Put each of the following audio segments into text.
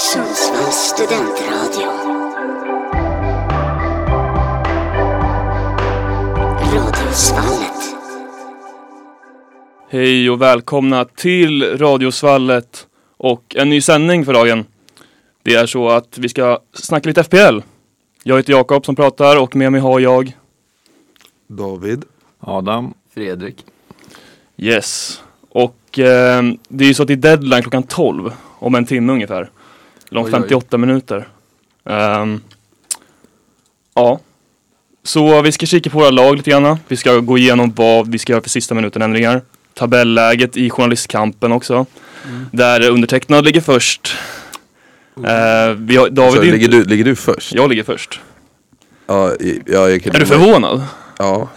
Stockholms studentradio. Radiosvallet. Hej och välkomna till Radiosvallet och en ny sändning för dagen. Det är så att vi ska snacka lite FPL. Jag heter Jakob som pratar och med mig har jag David. Adam. Fredrik. Yes. Och eh, det är ju så att det är deadline klockan 12 om en timme ungefär. Eller om Oj, oj. 58 minuter. Ehm, ja. Så vi ska kika på våra lag lite grann. Vi ska gå igenom vad vi ska göra för sista minuten-ändringar. Tabelläget i journalistkampen också. Mm. Där undertecknad ligger först. Eh, vi har, David Så, är ju- ligger, du, ligger du först? Jag ligger först. Ja, i- ja jag kan Är du förvånad? Ja.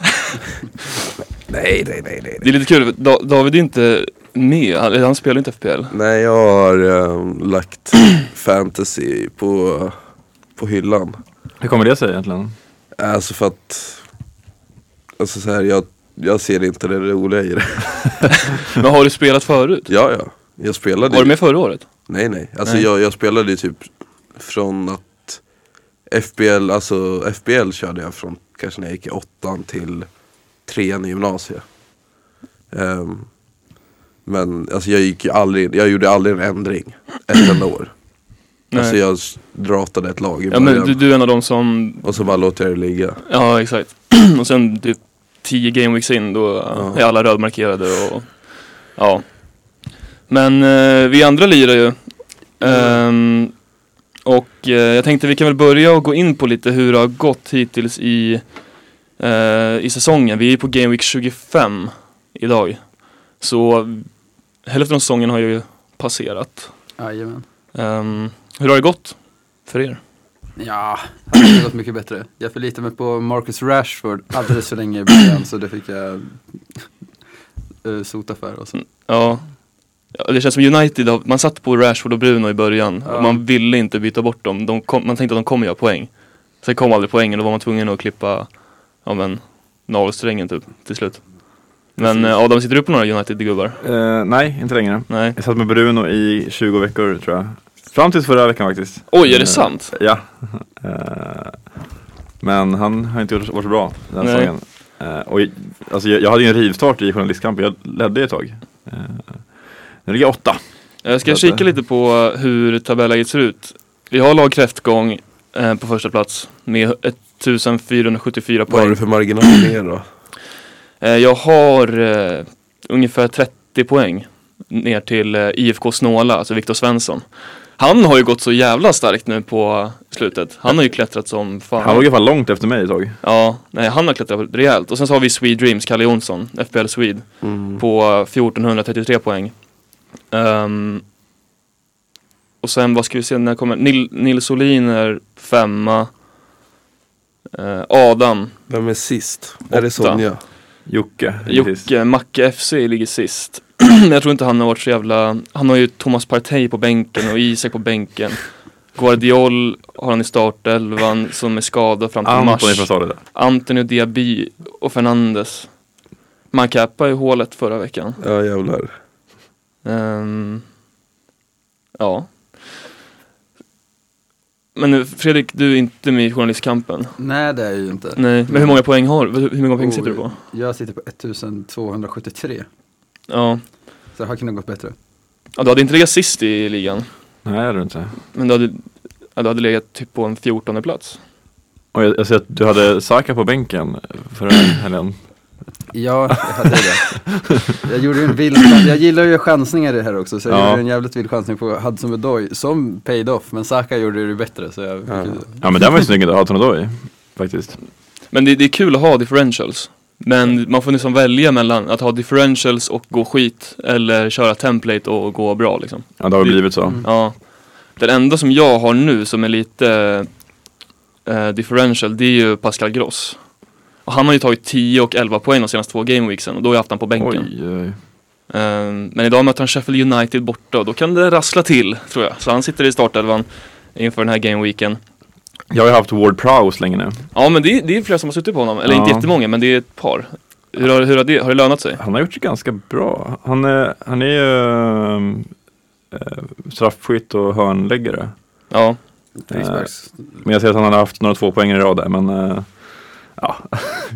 nej, nej, nej, nej. Det är lite kul, da- David är inte med, han, han spelar ju inte FPL. Nej, jag har ehm, lagt fantasy på, på hyllan. Hur kommer det sig egentligen? Alltså för att, alltså så här, jag, jag ser inte det roliga i det. Men har du spelat förut? ja, ja. Jag spelade Var du ju- med förra året? Nej, nej. Alltså Nej. Jag, jag spelade ju typ från att FBL, alltså FBL körde jag från kanske när jag gick i åttan till trean i gymnasiet. Ehm, men alltså jag gick ju aldrig, jag gjorde aldrig en ändring ett enda år. Nej. Alltså jag s- ratade ett lag i Ja början men du, du är en av de som, och så bara låter jag det ligga. ja exakt. Och sen typ 10 gameweeks in då eh, Ja. är alla rödmarkerade och ja. Men eh, vi andra lirar ju. Ehm, och eh, jag tänkte vi kan väl börja och gå in på lite hur det har gått hittills i, eh, i säsongen. Vi är ju på Game Week 25 idag. Så hälften av säsongen har ju passerat. Jajamän. Ehm, hur har det gått för er? Ja, det hade gått mycket bättre. Jag förlitade mig på Marcus Rashford alldeles för länge i början så det fick jag eh, sota för. Och så. Ja. ja, det känns som United, har- man satt på Rashford och Bruno i början Ja. och man ville inte byta bort dem. De kom, man tänkte att de kommer göra poäng. Sen kom aldrig poängen och då var man tvungen att klippa, ja men, navelsträngen typ till slut. Men eh, Adam, sitter du på några United-gubbar? Eh, nej, inte längre. Nej. Jag satt med Bruno i 20 veckor tror jag. Fram tills förra veckan faktiskt. Oj, är det Eh, sant? Ja. Eh, men han har inte gjort- varit så bra den här Nej. säsongen. Eh, och, jag- alltså, jag, jag hade ju en rivstart i journalistkampen, jag ledde ett tag. Eh, nu ligger jag åtta. Eh, Jag ska Vänta. kika lite på eh, hur tabelläget ser ut. Vi har lag Kräftgång eh, på första plats med 1474 Vad har poäng. du för marginal ner då? Eh, Jag har eh, ungefär 30 poäng ner till eh, IFK Snåla, alltså Viktor Svensson. Han har ju gått så jävla starkt nu på slutet. Han har ju klättrat som fan. Han låg i alla fall långt efter mig ett tag. Ja, nej han har klättrat rejält. Och sen så har vi Swede Dreams, Kalle Jonsson, FBL Swede, på eh, 1433 poäng. Ehm, och sen vad ska vi se, när kommer Nil- Nils Olin är femma. Eh, Adam, Vem är sist? Är det Åtta. Sonja? Jocke. precis. Jocke, Macke FC ligger sist. jag tror inte han har varit så jävla, han har ju Thomas Partey på bänken och Isak på bänken. Guardiol har han i startelvan som är skadad fram till Anton mars. ifrån Stadion. Antonio Diaby och Fernandes. Man i hålet förra veckan. Ja jävlar. Ehm, ja. Men nu, Fredrik, du är inte med i journalistkampen. Nej, det är jag ju inte. Nej, men hur många poäng har du? Hur många poäng sitter du på? Jag sitter på 1273. Ja, Så det här kunde ha gått bättre. ja du hade inte legat sist i ligan. Nej, det är du inte. Men du hade, ja, du hade legat typ på en 14 plats. Och jag, jag ser att du hade Saka på bänken förra helgen. Ja, jag hade det. Jag gjorde ju en vild chans. Jag gillar ju chansningar i det här också. Så jag Ja. gjorde en jävligt vild chansning på Hudson Odoi som paid off. Men Saka gjorde det bättre så jag Ja. Ja men den var ju snygg att ha Tornadoi faktiskt. Men det, det är kul att ha differentials. Men man får liksom välja mellan att ha differentials och gå skit eller köra template och gå bra liksom. Ja det har Det- ju blivit så. Ja. Den enda som jag har nu som är lite eh, differential det är ju Pascal Gross. Och han har ju tagit 10 och 11 poäng de senaste två gameweeksen och då har jag haft han på bänken. Oj, oj. Eh, men idag möter han Sheffield United borta och då kan det rassla till tror jag. Så han sitter i startelvan inför den här gameweeken. Jag har ju haft Ward Prowse länge nu. Ja men det, det är flera som har suttit på honom, eller Ja. inte jättemånga men det är ett par. Hur har, hur har, det, har det lönat sig? Han har gjort det ganska bra. eh, Han är, han är ju eh, straffskytt och eh, hörnläggare. Ja, Dricksbergs. Men jag ser att han har haft några två poäng i rad där, men eh, ja.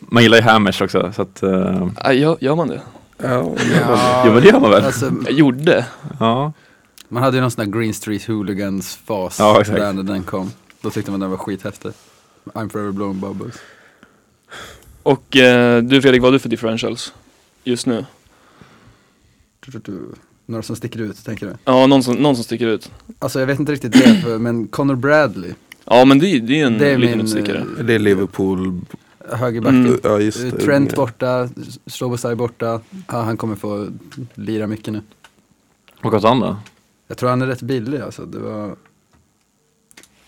Man gillar ju Hammers också, så att eh, Ah, gör, gör man det? Eh, Ja, Jo, men det gör man väl? Alltså, Jag gjorde. ja. man hade ju någon sån där Green Street Hooligans-fas Ja, exakt. där när den kom. Då tyckte man den var skithäftig. I'm forever blowing bubbles. Och eh, du Fredrik, vad har du för differentials just nu? Du, du, du. Några som sticker ut, tänker du? Ja, någon som, någon som sticker ut. Alltså jag vet inte riktigt det, för- men Connor Bradley, Ja, men det, det är en Det är liten min, utstickare. det är Liverpool. högerbacken. Mm. Ja, just det. Trent borta, Strobosai borta. Ja, han kommer få lira mycket nu. Vad kostar han då? Jag tror han är rätt billig alltså. Det var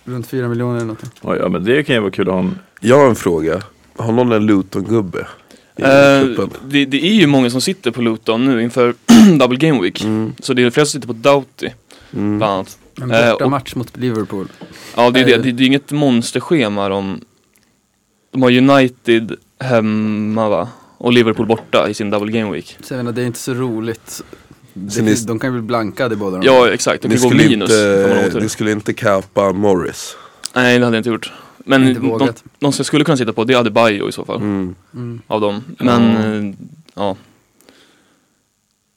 runt 4 miljoner eller någonting. Oj, ja, men det kan ju vara kul att ha en... Jag har en fråga. Har någon en Luton-gubbe? I Eh, truppen? det, det är ju många som sitter på Luton nu inför Double Game Week. Mm, Så det är flera som sitter på Doughty, mm. bland annat. En Eh, borta och- match mot Liverpool. Ja, det är, det. Eh. Det, det är inget monsterschema de... De har United hemma va? Och Liverpool borta i sin Double Game Week. Så jag menar, det är inte så roligt. Det, Så ni- de kan ju bli blankade båda de Ja, exakt. De Ni, kan gå skulle minus ifall man har inte, ni otur. skulle inte kappa Morris? Nej, det hade jag inte gjort. Men Inte de, vågat. de som jag skulle kunna sitta på, det är Adebayo i så fall. Mm. Mm. av dem. Men eh, ja.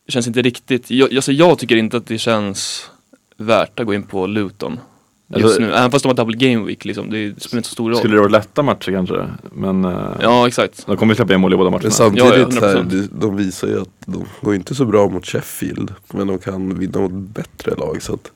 Det känns inte riktigt, jag, alltså jag tycker inte att det känns värt att gå in på Luton just Alltså- nu. Även fast de har double game week liksom, det spelar inte så stor roll. Skulle det vara lätta matcher kanske? Men eh, Ja exakt. de kommer ju släppa in mål i båda matcherna. Men samtidigt, Ja, ja, 100%. så här, de- de visar ju att de går inte så bra mot Sheffield. Men de kan vinna mot bättre lag. Så att,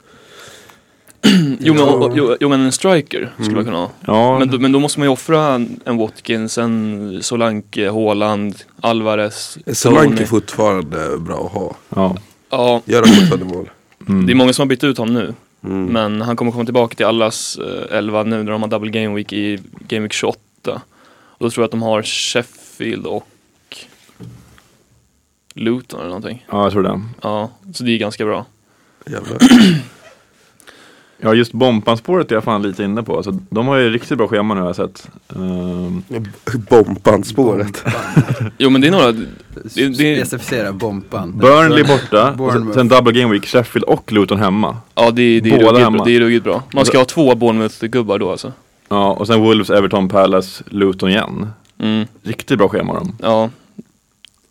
Jo men, Ja. och, jo, jo men en striker skulle Mm. man kunna ha. Ja, Men, då- men då måste man ju offra en, en Watkins, en Solanke, Haaland, Alvarez, Solanke Tony. är fortfarande bra att ha. ja. Ja, Gör han fortfarande mål? Mm. det är många som har bytt ut honom nu. Mm. Men han kommer komma tillbaka till allas eh, 11 nu när de har double game week i game week 28. Och då tror jag att de har Sheffield och Luton eller någonting. ja, jag tror det. Ja, så det är ganska bra. Jävlar. Ja, just bompanspåret är jag fan lite inne på. Alltså, de har ju riktigt bra schema nu har jag sett. Ehm, Bompan-spåret. Jo men det är några, det- det- Specificera bompan. Burnley borta, och sen- Bournemouth. sen double game week, Sheffield och Luton hemma. ja det, är- det, är Båda ruggigt hemma. bra. det är ruggigt bra. Man ska ha två Bournemouth-gubbar då alltså. Ja, och sen Wolves, Everton, Palace, Luton igen. Mm, Riktigt bra schema har de. ja.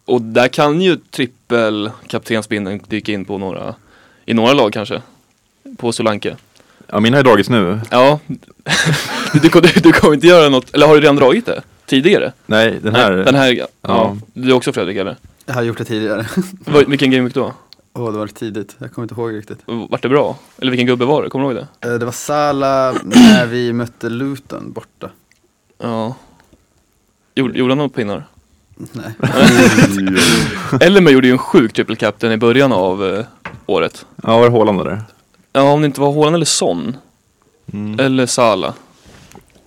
Och där kan ju trippelkaptensbindeln dyka in på några, i några lag kanske. På Solanke. Ja, min har ju dragits nu. Ja, du, du, du, du kommer inte göra något, eller har du redan dragit det? Tidigare? Nej, den här. Nej, den här ja. Ja. Du också Fredrik eller? Jag har gjort det tidigare. Vad- Vilken game week då? Åh, det var tidigt. Jag kommer inte ihåg riktigt. Vart det bra? Eller vilken gubbe var det? Kommer du ihåg det? Eh, Det var Sala när vi mötte Luton borta. Ja Gjorde gjorde han några pinnar? Nej. Elmer gjorde ju en sjuk triple captain i början av eh, året Ja, var det Haaland där? Ja om det inte var Haaland eller Son Mm. Eller Sala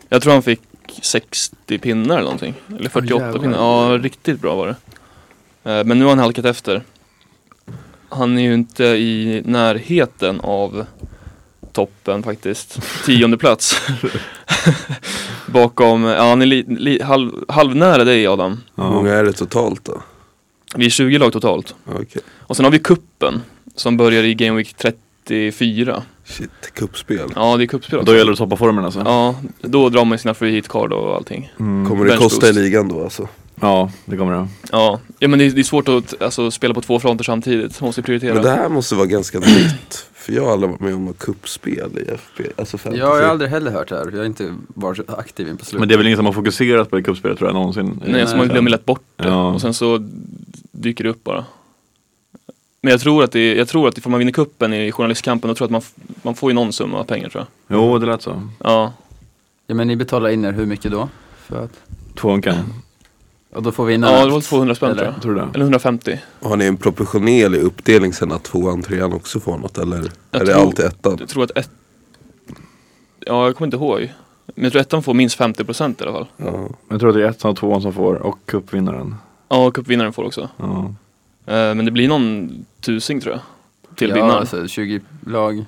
Jag tror han fick 60 pinnar eller någonting Eller 48 jävlar. pinnar, ja riktigt bra var det Eh, Men nu har han halkat efter Han är ju inte i närheten av toppen faktiskt Tionde plats Bakom, ja han är li, li, halv, halvnära dig Adam Hur Ja. många är det totalt då? Vi är 20 lag totalt Okej. Och sen har vi kuppen Som börjar i Game Week 34 Shit, kuppspel. Ja det är kuppspel också Då gäller det att toppa formen alltså? Ja, då drar man sina free hit card och allting Mm. Kommer det Bench kosta i boost. ligan då alltså? ja det kommer det. Ja, ja men det är, det är svårt att alltså, spela på två fronter samtidigt, man måste prioritera. Men det här måste vara ganska nytt. För jag har aldrig varit med om något kuppspel i FB. Alltså fantasy. Jag har aldrig heller hört det här. Jag har inte varit aktiv in på slutet. Men det är väl ingen som har fokuserat på det kuppspelet tror jag någonsin. Eh, Nej, alltså man glömmer lätt bort det Ja. och sen så dyker det upp bara. Men jag tror att det, jag tror att ifall man vinner kuppen i journalistkampen, då tror jag att man, f- man får ju någon summa pengar tror jag. Jo, det lät så. Ja, Ja men ni betalar in er hur mycket då? För att... Tvåhunkan, Och då får vi in ja det var 200 spänn Eller? tror jag. tror du det? Eller 150. Har ni en proportionerlig uppdelning sen att tvåan, trean också får något? Eller Jag är det tror- alltid ettan? Jag tror att ett... Ja, jag kommer inte ihåg. Men jag tror ettan får minst 50% i alla fall. Ja. Jag tror att det är ettan och tvåan som får och cupvinnaren. Ja, och cupvinnaren får också. Ja. Eh, Men det blir någon tusing tror jag. Till vinnaren. Ja alltså 20 lag.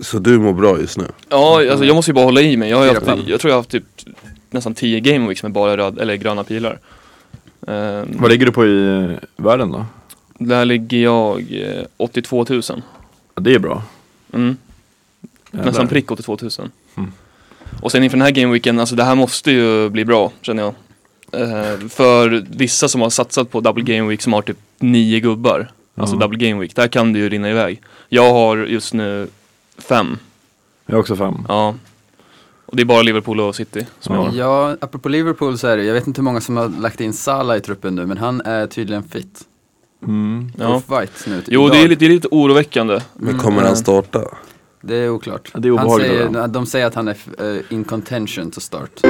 Så du mår bra just nu? Ja, alltså jag måste ju bara hålla i mig. Jag, har ju Fyra, haft, fem. jag tror jag har haft typ nästan 10 game weeks med bara röd, eller gröna pilar. Ehm, Vad ligger du på i eh, världen då? där ligger jag eh, 82 000. Ja, det är bra. Mm. Nästan prick 82 000. Mm. Och sen inför den här gameweeken, alltså det här måste ju bli bra känner jag. Eh, för vissa som har satsat på double gameweek som har typ nio gubbar, alltså Ja. double gameweek, där kan det ju rinna iväg. Jag har just nu fem, Jag har också fem. ja. Och det är bara Liverpool och City som jag har. Ja, apropå Liverpool så är det, jag vet inte hur många som har lagt in Salah i truppen nu, men han är tydligen fit. Mm. Ja. Och fight nu. Jo, det idag. är, lite, det är lite oroväckande. Men kommer Mm. han starta? Det är oklart. Ja, det är obehagligt, han ja. säger, de säger att han är f- eh, in contention to start.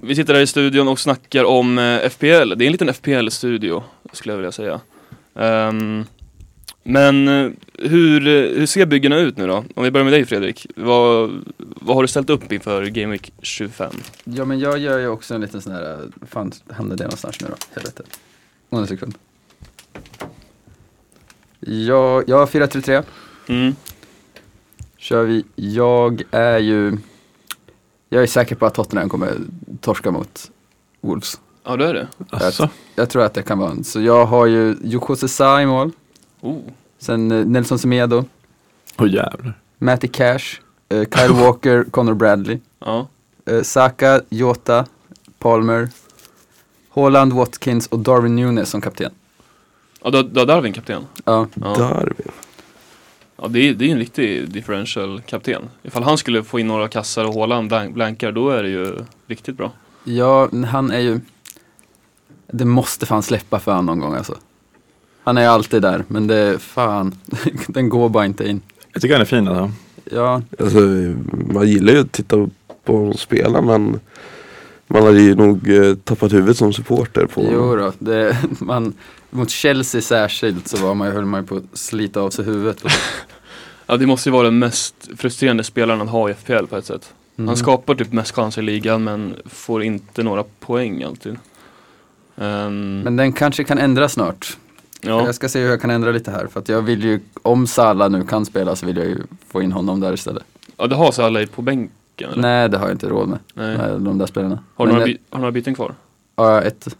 Vi sitter här i studion och snackar om eh, FPL. Det är en liten FPL-studio, skulle jag vilja säga. Ehm, men eh, hur, eh, hur ser byggena ut nu då? Om vi börjar med dig Fredrik. Vad, vad har du ställt upp inför Game Week 25? Ja, men jag gör ju också en liten sån här, eh, fan hamnade det någonstans nu då? Helvete. Och en sekund. Jag, jag har 4-3-3. Mm. kör vi. Jag är ju, jag är säker på att Tottenham kommer torska mot Wolves. Ja, det är det. Alltså. Jag tror att det kan vara en. Så jag har ju Yoko Sesa i mål, Oh. sen eh, Nelson Semedo, Åh jävlar. Matty Cash, eh, Kyle Walker, Connor Bradley, Ja. eh, Saka, Jota, Palmer, Haaland, Watkins och Darwin Nunes som kapten. ja, du har- du har Darwin kapten. Ja, Ja, Darwin. ja det, är, det är en riktig differential-kapten. Ifall han skulle få in några kassar och Haaland blank- blankar, då är det ju riktigt bra. ja men han är ju, det måste fan släppa för honom någon gång alltså. Han är ju alltid där, men det är fan, den går bara inte in. Jag tycker han är fin alltså. Ja, Alltså, man gillar ju att titta på honom spela men man hade ju nog eh, tappat huvudet som supporter på jo då, det, man, mot Chelsea särskilt så var man, höll man ju på att slita av sig huvudet. Ja, det måste ju vara den mest frustrerande spelaren att ha i FPL på ett sätt. Mm. Han skapar typ mest chanser i ligan men får inte några poäng alltid. Ehm, Men den kanske kan ändras snart. ja, Jag ska se hur jag kan ändra lite här, för att jag vill ju, om Salah nu kan spela så vill jag ju få in honom där istället. ja, det har sig alla i på bänken eller? Nej, det har jag inte råd med, Nej. med de där spelarna. Har, du Men några jag- by- har du några byten kvar? Ja, ett.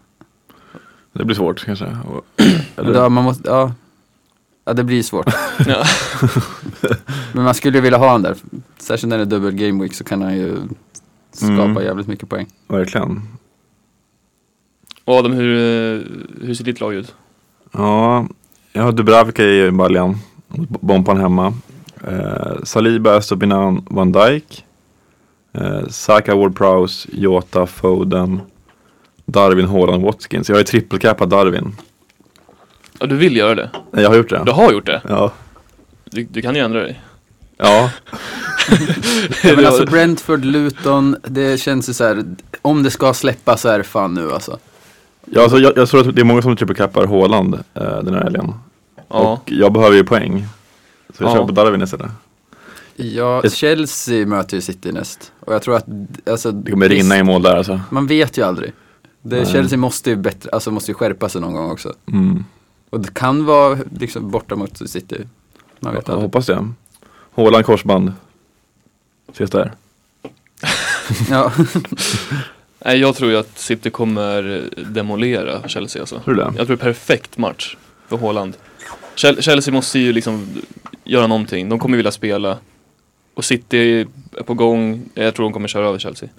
Det blir svårt kanske. Och- Men Eller, då, man måste, ja. ja, det blir svårt. Ja. Men man skulle ju vilja ha honom där, särskilt när det är dubbel game week så kan han ju skapa Mm. jävligt mycket poäng. verkligen. Och Adam, hur, eh, hur ser ditt lag ut? Ja, jag har Dubravka i baljan. Bompan hemma. Eh, Saliba, Estopinan, Van Dijk. Eh, Saka, Ward-Prowse, Jota, Foden. Darwin, Haaland, Watkins. Jag har ju trippelcappat Darwin. Ja, du vill göra det? Nej, jag har gjort det. Du har gjort det? Ja. Du, du kan ju ändra dig. Ja. Ja, men alltså Brentford, Luton, det känns ju så här, om det ska släppa så är det fan nu alltså. Ja, alltså, jag, jag tror att det är många som trippelcappar Haaland eh, den här helgen. ja. Och jag behöver ju poäng. Så jag Ja. kör på Darwin istället. Ja, Ett- Chelsea möter ju City näst. Och jag tror att, alltså, Det kommer rinna i mål där alltså. man vet ju aldrig. Det, Nej. Chelsea måste ju bättre, alltså måste ju skärpa sig någon gång också. Mm. Och det kan vara liksom borta mot City. Man vet Jag aldrig. hoppas det. Haaland korsband. Ses där. Ja, Nej, jag tror ju att City kommer eh, demolera Chelsea alltså. Tror du det? Jag tror det är perfekt match för Haaland. Chel- Chelsea måste ju liksom göra någonting. De kommer vilja spela. Och City är på gång. Jag tror de kommer köra över Chelsea.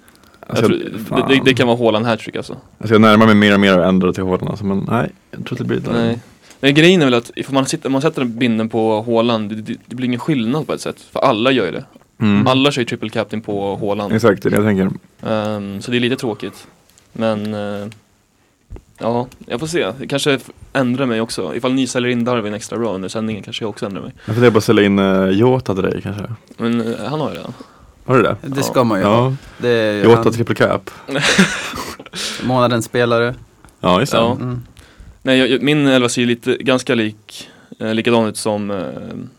Jag Alltså, tror, fan. det, det, det kan vara Haaland hattrick alltså. Alltså, jag närmar mig mer och mer och ändrar till Haaland alltså, men nej, jag tror att det blir Darwin. Nej. Men grejen är väl att ifall man, sitter, man sätter binden på Haaland, det, det, det blir ingen skillnad på ett sätt. För alla gör ju det. Mm. Alla kör ju triple captain på Haaland. Exakt, det är det jag tänker. Ehm, så det är lite tråkigt. Men eh, ja, jag får se. Jag kanske f- ändrar mig också. Ifall ni säljer in Darwin extra bra under sändningen kanske jag också ändrar mig. Jag funderar på att sälja in uh, Jota till dig kanske. Men eh, han har ju redan. Har du det? det ska man ju ha. Ja. Det är ju Jota han, triple cap. månadens spelare. Ja, just det. Ja. Mm. Nej, jag, jag- min elva ser ju lite, ganska lik, eh, likadan ut som eh,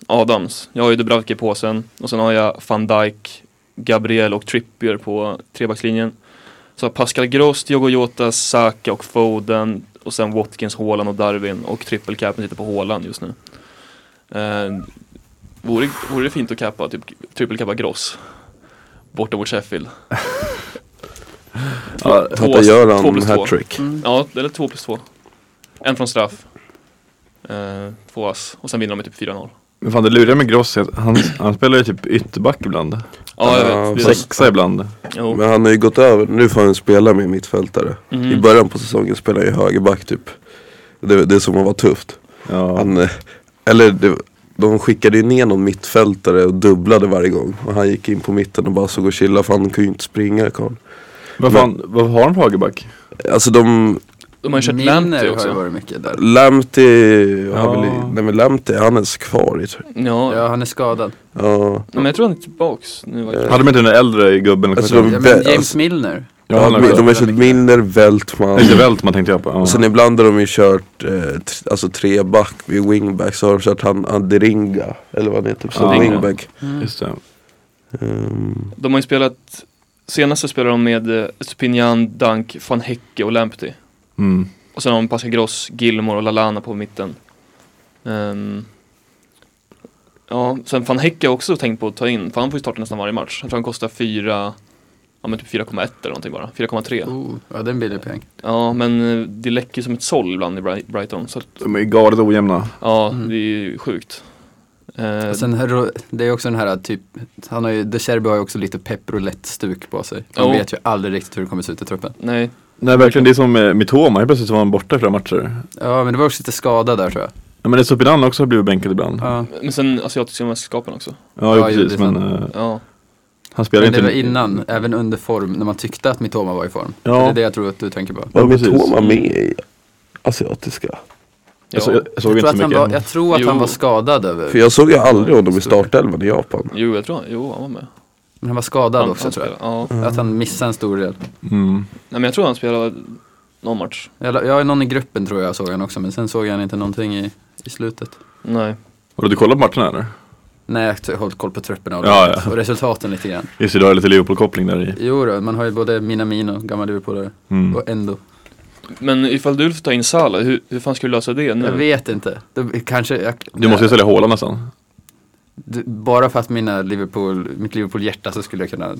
Adams. Jag har ju Dubravka i påsen och sen har jag van Dijk, Gabriel och Trippier på trebackslinjen. Så har Pascal Gross, Diogo Jota, Saka och Foden och sen Watkins, Haaland och Darwin och trippelcapen sitter på Haaland just nu. Eh, vore, vore det fint att cappa, typ trippelcappa Gross? Borta mot Sheffield. Ja, Två- Tappa två plus Göran två. hattrick. Ja, eller två plus två. En från straff. Eh, två ass. Och sen vinner de med typ 4-0. Men fan det luriga med Gross är att han, han spelar ju typ ytterback ibland. Ja, Ja, jag vet. Vi, fast- Sexa ibland. jo. Men han har ju gått över, nu får han spela med mittfältare. Mhm. Mm. I början på säsongen spelade han ju högerback typ. Det, det som var tufft. Ja. Han, eh, eller det, de skickade ju ner någon mittfältare och dubblade varje gång. Och han gick in på mitten och bara såg och chillade för han kunde ju inte springa karln. Vad fan, vad har han för högerback? Alltså de, De har ju kört Milner Lanty har ju också. varit mycket där. Lamti, har Ja. väl i- nej men Lamti han är ens kvar i tror jag. Ja. Ja, han är skadad. Ja, Nej, Men jag tror han är tillbaks Eh. nu faktiskt. Hade de inte den äldre gubben? Alltså, Kommer de- jag Ja, men inte James Be- alltså- Milner. ihåg. ja, de, de har kört Milner, Veltman. Det är väl man tänkte jag på. Ja. Sen ibland har de ju kört eh, tr- alltså treback vid wingback så har de kört han Anderinga eller vad han heter som Ja. wingback. Mm. Just det. Ehm, De har ju spelat, senaste spelade de med eh, Estupinian, Dunk, van Hecke och Lamptey. Mm. Och sen har de Pascal Gross, Gilmore och Lalana på mitten. Ehm, ja, sen van Hecke har jag också tänkt på att ta in, för han får ju starta nästan varje match. Jag tror han kostar 4, ja men typ 4,1 eller någonting bara, 4,3. Oh, ja, det är en billig peng. Ja, men eh, det läcker ju som ett såll ibland i Bri- Brighton. Så att, De är galet ojämna. ja, Mm. det är ju sjukt. Eh, Och Sen, här då- det är också den här typ, han har ju, De Cherby har ju också lite pepprolett-stuk på sig. Man Jo. vet ju aldrig riktigt hur det kommer se ut i truppen. nej, Nej verkligen, det är som eh, Mitoma, helt plötsligt så var han borta i flera matcher. Ja, men det var också lite skada där tror jag. Ja, men Estupinan också har blivit bänkad ibland. Ja, Ja. men sen asiatiska mästerskapen också. ja, Ja, precis. jo, det är men eh, Ja, han spelar Men inte. det var innan, även under form, när man tyckte att Mitoma var i form. Ja. Det är det jag tror att du tänker på. Var Ja, precis. Mitoma med i asiatiska? Jag, ja. så, jag såg Alltså, Jag tror, inte att så han mycket. var, jag tror att han Jo. var skadad över, För jag såg ju aldrig honom i startelvan i Japan. jo jag tror jo han var med. men han var skadad Han- också han tror jag. Mm. spelade, Ja, Att han missade en stor del. Mm. nej men jag tror han spelade någon match. Jag, jag är någon i gruppen tror jag såg han också, men sen såg jag inte någonting i, i slutet. Nej. Har du kollat på matcherna eller? Nej, jag har hållit koll på trupperna och, Ja, laget ja. och resultaten lite grann. Just idag är det lite Liverpool-koppling där i. Jo då, man har ju både Minamino, gammal Liverpoolare, Mm. och Endo. Men ifall du får ta in Salah, hur, hur fan ska du lösa det Jag nu? vet inte. Det, kanske, jag, Du måste ju sälja Haaland nästan. Du- Bara för att mina Liverpool, mitt Liverpool-hjärta så skulle jag kunna, Ja.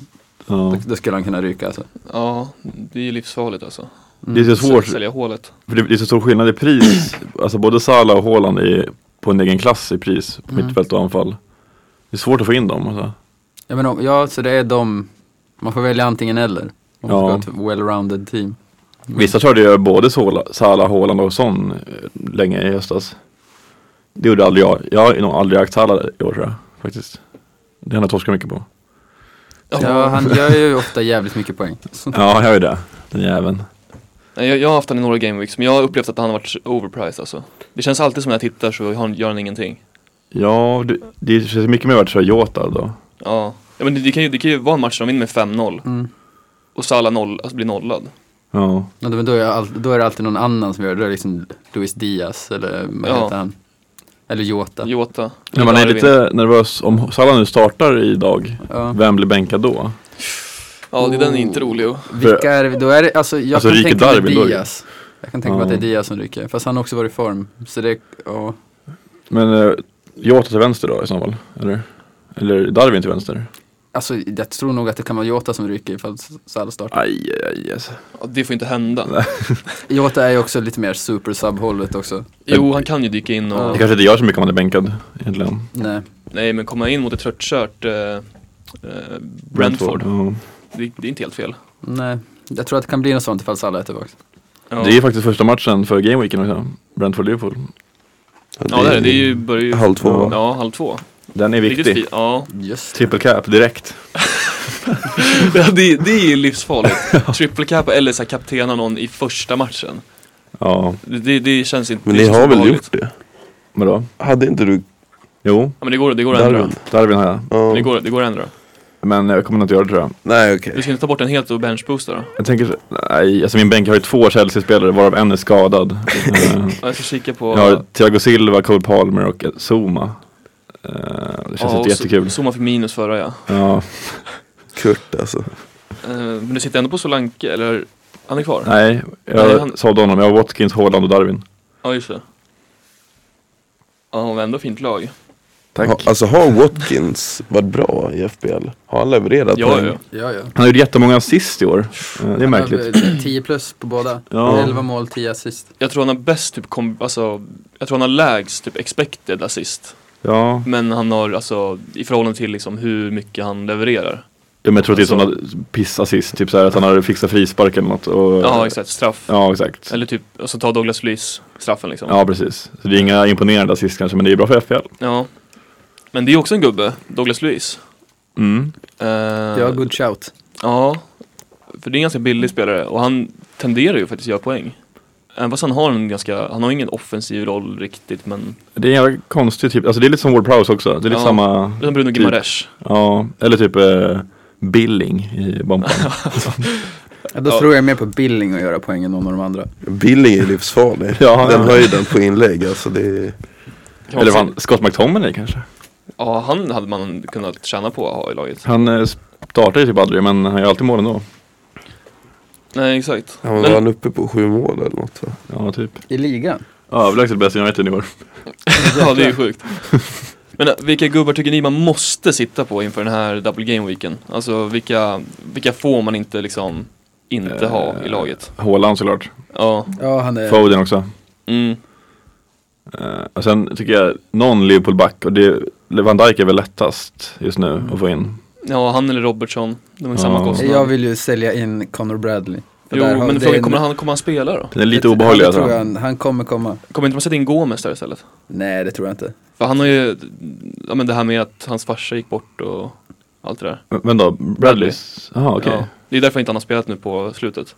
då, då skulle han kunna ryka alltså. Ja, det är ju livsfarligt alltså. Det är så svårt, Sälj- Sälja hålet. för det det är så stor skillnad i pris. Alltså både Salah och Haaland är på en egen klass i pris, Mm. på mittfält och anfall. Det är svårt att få in dem. Alltså. Ja, men om, ja, så det är de, man får välja antingen eller. Om man Ja. ska ha ett well-rounded team. Vissa körde ju både Sola- Salah, Haaland och Son eh, länge i höstas. Det gjorde aldrig jag. Jag har nog aldrig ägt Salah i år tror jag, faktiskt. Det har jag torskat mycket på. Ja, han gör ju ofta jävligt mycket poäng. Så, Ja, jag är det. Den jäveln. Nej, Jag, jag har haft han i några gameweeks, men jag har upplevt att han har varit overpriced alltså. Det känns alltid som när jag tittar så har han, gör han ingenting. Ja, det, det känns mycket mer värt att köra Jota då. Ja, ja men det, det, kan ju, det kan ju vara en match där de vinner med 5-0 Mm. och Salah noll, alltså blir nollad. Ja. men då- då, är jag all, då är det alltid någon annan som gör det, då är det liksom Luis Diaz eller vad Ja. heter han? Eller Jota. Jota. Men man är Darwin. lite nervös om Salah nu startar idag. Ja. Vem blir bänkad då? Ja, det, den är inte rolig att... Vilka är det, då är det, alltså jag Alltså, kan Riket tänka mig Darwin då ju. Diaz. Jag kan tänka mig Ja. att det är Diaz som ryker, fast han har också varit i form. Så det, ja. Men eh, Jota till vänster då i så fall? Eller? Eller Darwin till vänster? Alltså jag tror nog att det kan vara Jota som ryker ifall Salah startar. Aj, aj, alltså. aj. Ja, det får inte hända. Jota är ju också lite mer super-sub-hållet också. Jo, han kan ju dyka in och... Det kanske inte gör så mycket om han är bänkad egentligen. Nej. Nej, men komma in mot ett tröttkört eh, eh, Brentford, Ja. det, det är inte helt fel. Nej. Jag tror att det kan bli något sånt ifall Salah är tillbaka. Ja. Det är faktiskt första matchen för Gameweeken också. Brentford-Liverpool. Ja det är det, det är ju, börjar ju Halv två, va? Ja, halv två. Den är Riktigt viktig. fi- Ja, Just Triple cap direkt. Ja, det, det är ju livsfarligt. Triple cap eller så här kaptena någon i första matchen. Ja, Det, det, det känns inte Men det ni känns har väl obehagligt. gjort det? vadå? Hade inte du Jo, Ja men det går, det går att ändra. Darwin? Darwin har jag. Ja. Det går, det går att ändra. Men jag kommer inte att göra det tror jag. Nej okej. Du ska inte ta bort den helt och benchboosta då? Jag tänker, nej, alltså min bänk har ju två Chelsea-spelare varav en är skadad. Eh, Ja, Jag ska kika på... jag har Thiago Silva, Cole Palmer och Zuma. Eh, Det känns och inte jättekul. Z- Zuma fick minus förra ja. Ja. Kurt alltså. Eh, Men du sitter ändå på Solanke, eller? Han är kvar? Nej, Nej, jag han- sålde honom. Jag har Watkins, Haaland och Darwin. Ja just det. Ja, men ändå fint lag. Tack. Ha, alltså har Watkins varit bra i FBL? Har han levererat Ja, poäng? ja. Ja, ja. Han har gjort jättemånga assist i år. Eh, Det är märkligt. 10 plus på båda. Ja. 11 mål, 10 assist. Jag tror han har bäst typ kom, alltså, jag tror han har lägst typ expected assist. Ja. Men han har alltså i förhållande till liksom hur mycket han levererar. Ja, men jag tror att det är Alltså- sådana pissassist, typ såhär att han hade fixat frispark eller något. Och, Ja exakt, straff. Ja, exakt. Eller typ, alltså ta Douglas Luiz straffen liksom. Ja, precis. Så det är inga imponerande assist kanske, men det är bra för FPL. Ja. Men det är också en gubbe, Douglas Luiz. Mm. Eh, Ja, good shout. Ja, för det är en ganska billig spelare och han tenderar ju faktiskt att göra poäng. Även fast han har en ganska, han har ingen offensiv roll riktigt men, Det är en jävla konstig typ, alltså det är lite som Ward Prowse också. Det är lite Ja. samma, som Bruno Gimares. ja, eller typ eh, Billing i Bompan. Ja, då tror jag mer på Billing att göra poäng än någon av de andra. Billing är livsfarlig. Ja, den ja. höjden på inlägg alltså det är... Kan man eller säga- fan, Scott McTominay kanske. Ja, han hade man kunnat tjäna på att ha i laget. Han eh, startar ju typ aldrig, men han gör alltid mål ändå. Nej, exakt. Han var Men- han uppe på sju mål eller något va? Ja, typ. I ligan? Överlägset bäst i United i år. ja, det är ju sjukt. Men eh, vilka gubbar tycker ni man måste sitta på inför den här double game weeken? Alltså vilka, vilka får man inte liksom inte ha i Eh. laget? Haaland såklart. Ja, Ja, han Eh. är... Foden också. mm, Eh, och sen tycker jag någon Liverpool-back och det, Van Dijk är väl lättast just nu Mm. att få in. ja han eller Robertson, de är Ja. samma kostnad. Jag vill ju sälja in Connor Bradley. För Jo, där har- men det frågan är- kommer han, kommer han spela då? Den är lite det- obehaglig det tror alltså. jag han, han kommer komma. Kommer inte man sätta in Gomes där istället? Nej, det tror jag inte. För han har ju, ja men det här med att hans farsa gick bort och allt det där. Men då, Bradleys? Jaha okej. Ja, det är därför inte han har spelat nu på slutet.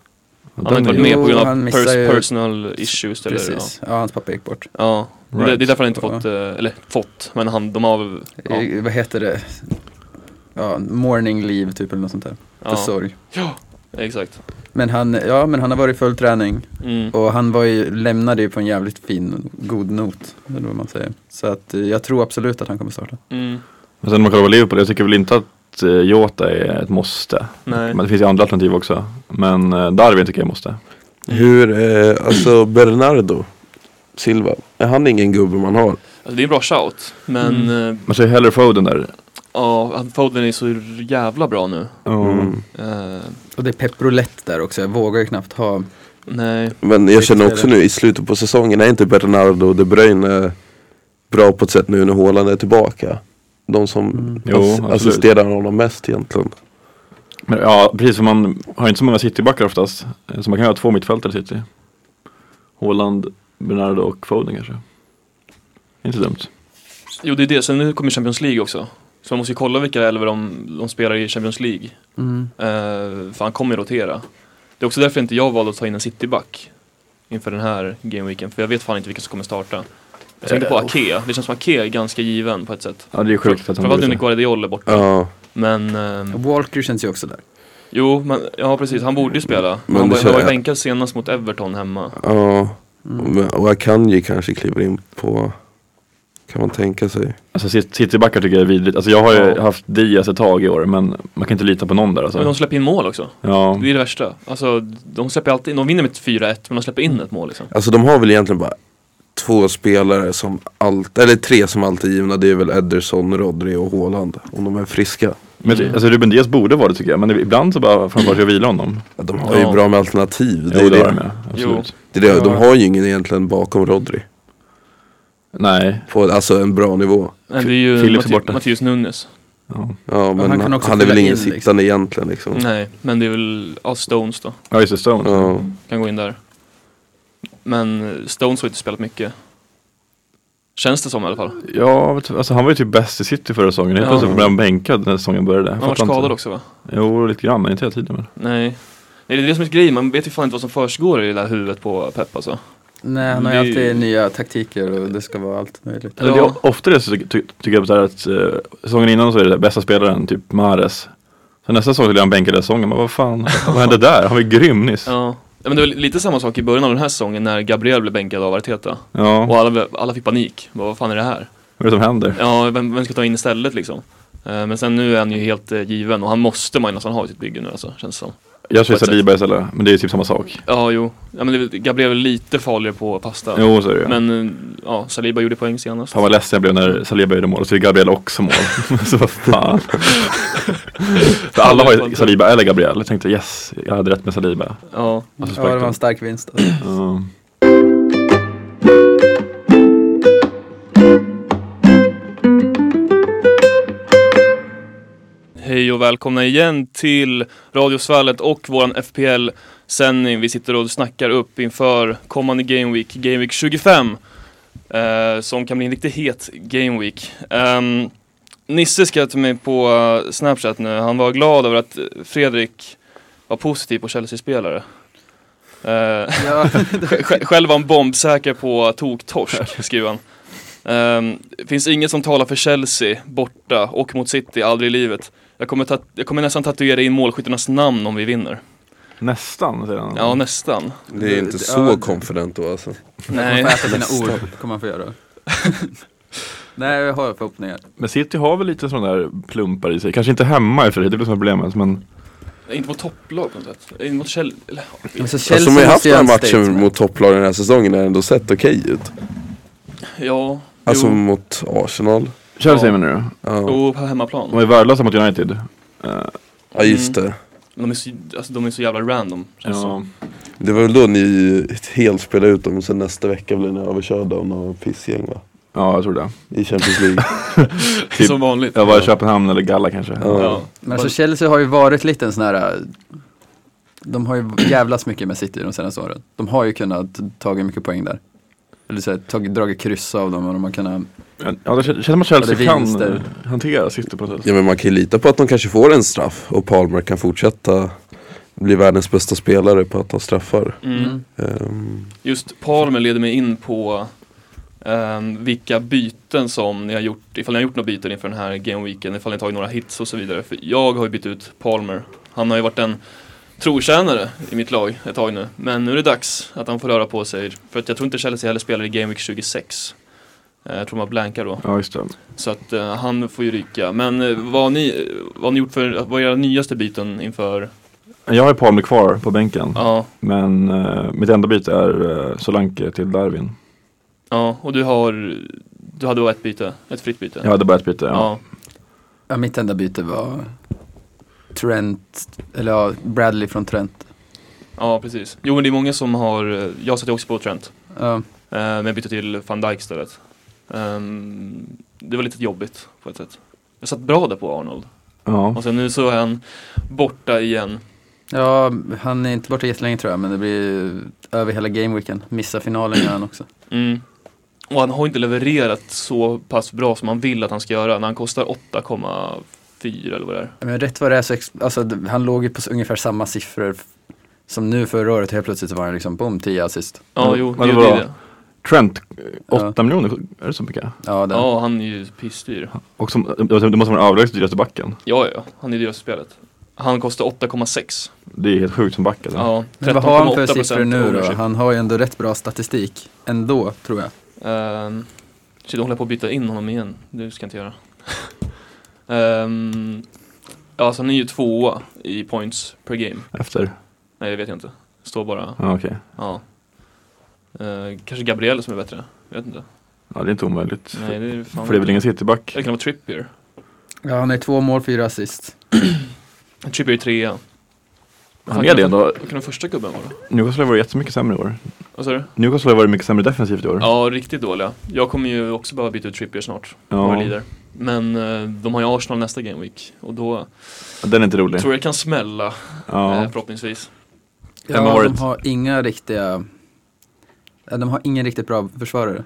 Han Den har inte är varit ju- med på grund Jo, han av missar pers- ju- personal issues eller ja. Precis. Ja, hans pappa gick bort. Ja, Right. det, det är därför han inte Ja. fått, eh, eller fått, men han, de har väl, ja, Eh, Vad heter det? Ja, morning leave typ eller något sånt där. För ja, sorg. exakt. Men han, ja, men han har varit i full träning Mm. och han var ju, lämnade ju på en jävligt fin, god not. Eller vad man säger. Så att eh, jag tror absolut att han kommer starta. Mm. Men sen om man kollar på Liverpool, jag tycker väl inte att eh, Jota är ett måste. Nej. Men det finns ju andra alternativ också. Men eh, Darwin tycker jag är måste. Hur, eh, alltså Bernardo Silva, är han ingen gubbe man har? Alltså, det är en bra shout, men eh, Man säger hellre Foden där. ja, han- Foden är så jävla bra nu. Mm. Eh, Och det är pepprolett där också, jag vågar ju knappt ha. nej, Men jag känner Riktigt också är det. nu i slutet på säsongen, är inte Bernardo och De Bruyne bra på ett sätt nu när Haaland är tillbaka? De som Mm. Jo, ass- absolut. assisterar honom mest egentligen. Men, ja, precis. För man har inte så många citybackar oftast. eh, Så man kan ha två mittfältare i city. Haaland, Bernardo och Foden kanske. Inte så dumt. jo det är det, sen nu kommer Champions League också. Så man måste ju kolla vilka elver de, de spelar i Champions League. Mm. Eh, för han kommer ju rotera. Det är också därför inte jag valde att ta in en cityback inför den här gameweeken, för jag vet fan inte vilka som kommer starta. Jag tänkte på Ake, det känns som Ake är ganska given på ett sätt. Ja, det är sjukt att han Framförallt nu när borde- Guardiola är borta. Ja, Men, ehm, Walker känns ju också där. jo, men, ja precis, han borde ju spela. Men han, det var, han var ju känner- bänkad senast mot Everton hemma. ja. Mm. Men- Och Akanji kanske kliver in på, kan man tänka sig. Alltså cit- citybackar tycker jag är vidrigt. Alltså jag har ju Ja. haft Diaz ett tag i år men man kan inte lita på någon där alltså. Men de släpper in mål också. Ja, Det är det värsta. Alltså, de släpper alltid in, de vinner med 4-1, men de släpper in ett mål liksom. Alltså de har väl egentligen bara två spelare som allt, eller tre som alltid är givna. Det är väl Ederson, Rodri och Haaland. Om de är friska. men Mm. det- alltså Ruben Diaz borde vara det tycker jag. Men det- ibland så bara får man bara vila honom. Ja, De har Ja. ju bra med alternativ. Jo, Det är det har de det. med. Absolut. Det är det. De har ju ingen egentligen bakom Rodri. Nej, På alltså en bra nivå. Men det är ju Phillips är Mathi- borta. Mattias Nunes. ja. Ja men han kan han, också han är väl fylla ingen in, liksom. sittande egentligen liksom. Nej, men det är väl, ja, Stones då. ja just det, Stone. Ja. Kan gå in där. Men eh, Stones har inte spelat mycket. Känns det som i alla fall. Han Ja, vet du, alltså han var ju typ bäst i city förra säsongen. Helt Ja. plötsligt blev han bänkad när säsongen började. har varit Fattar inte. skadad också va? Jo, lite grann men inte hela tiden. Men. Nej. Nej, det är det som är grejen, man vet ju fan inte vad som försiggår i det där huvudet på Pep alltså. Nej, han har ju Det- alltid nya taktiker och det ska vara allt möjligt. Eller det, är ofta det så ty- ty- tycker jag så här att eh, säsongen innan så är det bästa spelaren, typ Mahrez. Så nästa säsong så blir han bänkad i säsongen. Men vad fan, vad hände där? Han var ju grym nyss. Ja. Ja. ja men det var lite samma sak i början av den här säsongen när Gabriel blev bänkad av Arteta. Och alla, blev- alla fick panik. Bara, vad fan är det här? Vad är det som händer? Ja, vem, vem ska ta in istället liksom? Eh, Men sen nu är han ju helt eh, given och han måste man ju nästan ha i sitt bygge nu alltså, känns det som. Jag kör på ett Saliba istället, men det är typ samma sak. Ja, jo. Ja, men det, Gabriel är lite farligare på pasta. Jo, så är det ju. Men eh, ja, Saliba gjorde poäng senast. Fan vad ledsen jag blev när Saliba gjorde mål och så gjorde Gabriel också mål. så vad fan. För alla var ju Saliba eller Gabriel. Jag tänkte yes, jag hade rätt med Saliba. Ja. Alltså, Ja, det var en stark vinst. alltså. Ja. Hej och välkomna igen till Radiosvallet och våran FPL-sändning. Vi sitter och snackar upp inför kommande Game Week, Game Week 25. Eh, som kan bli en riktigt het Game Week. Ehm, Nisse skrev till mig på eh, Snapchat nu, han var glad över att eh, Fredrik var positiv på Chelsea-spelare. Eh, Ja, Sj- Själv var han bombsäker på toktorsk, skriver han. Ehm, finns inget som talar för Chelsea borta och mot City, aldrig i livet. Jag kommer, tat- jag kommer nästan tatuera in målskyttarnas namn om vi vinner. Nästan säger han. Ja, nästan. Det är inte Det- så ja. confident då alltså. Nej. Nej. Man får äta sina ord, kommer man få göra. Nej, jag har förhoppningar. Men City har väl lite sådana där plumpar i sig. Kanske inte hemma i och för sig, det blir som är problemet. Men Inte mot topplag på något sätt. Inte Eh, mot Chelsea. Eller, ja. Alltså, Alltså, de har ju haft den här matchen mot topplagen den här säsongen, har ändå sett okej ut. ja. Alltså jo, mot Arsenal. Chelsea Ja. menar du? Ja, jo, på De hemmaplan. är värdelösa mot United. Eh, ja just det. De är så, alltså, de är så jävla random. känns det som. Det var väl då ni helt spelade ut dem och sen nästa vecka blev ni överkörda av några pissgäng va? ja, jag tror det. I Champions League. Typ- Som vanligt. Jag var i Köpenhamn eller Galla kanske. Ja. Ja. Men alltså Chelsea har ju varit lite en sån här, äh, de har ju jävlas mycket med City de senaste åren. De har ju kunnat tagit mycket poäng där. Eller så här, tagit, dragit kryss av dem och de har kunnat, Ja, det känns som att Chelsea Ja, det kan finns det. eh, hantera City på något sätt. Ja men man kan ju lita på att de kanske får en straff och Palmer kan fortsätta bli världens bästa spelare på att ta straffar. Mm. Ehm, Just Palmer leder mig in på ehm, vilka byten som ni har gjort, ifall ni har gjort några byten inför den här gameweeken, ifall ni har tagit några hits och så vidare. För jag har ju bytt ut Palmer. Han har ju varit en trotjänare i mitt lag ett tag nu. Men nu är det dags att han får röra på sig. För att jag tror inte Chelsea heller spelar i Gameweek 26. Eh, Jag tror man blankar då. Ja, just det. Så att eh, han får ju ryka. Men eh, vad har ni, vad har ni gjort för, vad är era nyaste byten inför, Jag har ju Palme kvar på bänken. ja, Men eh, mitt enda byte är eh, Solanke till Darwin. ja, och du har, du hade då ett byte, ett fritt byte? Jag hade bara ett byte. Ja. ja. ja mitt enda byte var Trent, eller ja, Bradley från Trent. Ja, precis. Jo, men det är många som har, eh, jag satte också på Trent, Ja, eh, men jag bytte till van Dijk istället. Ehm, det var lite jobbigt på ett sätt. Jag satt bra där på Arnold, Ja. och sen nu så är han borta igen. ja han är inte borta jättelänge tror jag, men det blir ju över hela gameweeken. Missar finalen gör han också. Mm. Och han har inte levererat så pass bra som man vill att han ska göra, när han kostar 8,4 eller vad det är. Ja, Men rätt vad det är så, ex- alltså, d- han låg ju på s- ungefär samma siffror f- som nu förra året. Helt plötsligt så var han liksom, boom, 10 assist. Ja, Men- jo, Mm. det men är vadå? det. Trent, 8 Ja. miljoner, är det så mycket? Ja, den. Ja, han är ju pissdyr. Och som, det måste vara den överlägset dyraste backen. Ja, ja, han är dyrast i spelet. Han kostar 8,6. Det är helt sjukt som back alltså. Ja, Men vad har han för 13,8 siffror nu då? ownership. Han har ju ändå rätt bra statistik ändå, tror jag. Um, shit, jag håller på att byta in honom igen. Det ska jag inte göra. Ehm, ja, alltså han är ju tvåa i points per game. Efter. Nej, det vet jag inte. Står bara, Ja, okej. ja. Eh, kanske Gabriel som är bättre. Jag vet inte. Ja, det är inte omöjligt. Nej, det är fan För det är väl ingen cityback? Det kan vara Trippier. Ja, han har ju två mål, fyra assist. Trippier är trea. Han är det ändå. Vad kan den första gubben vara då? Newcastle har varit jättemycket sämre i år. Vad sa du? Newcastle har varit mycket sämre defensivt i år. Ja, riktigt dåliga. Jag kommer ju också behöva byta ut Trippier snart. Ja. Ja. Lider. Men eh, de har ju Arsenal nästa game week. Och då Den är inte rolig. tror jag det kan smälla, Ja. eh, förhoppningsvis. Ja, Vem har de varit- har inga riktiga, ja, de har ingen riktigt bra försvarare.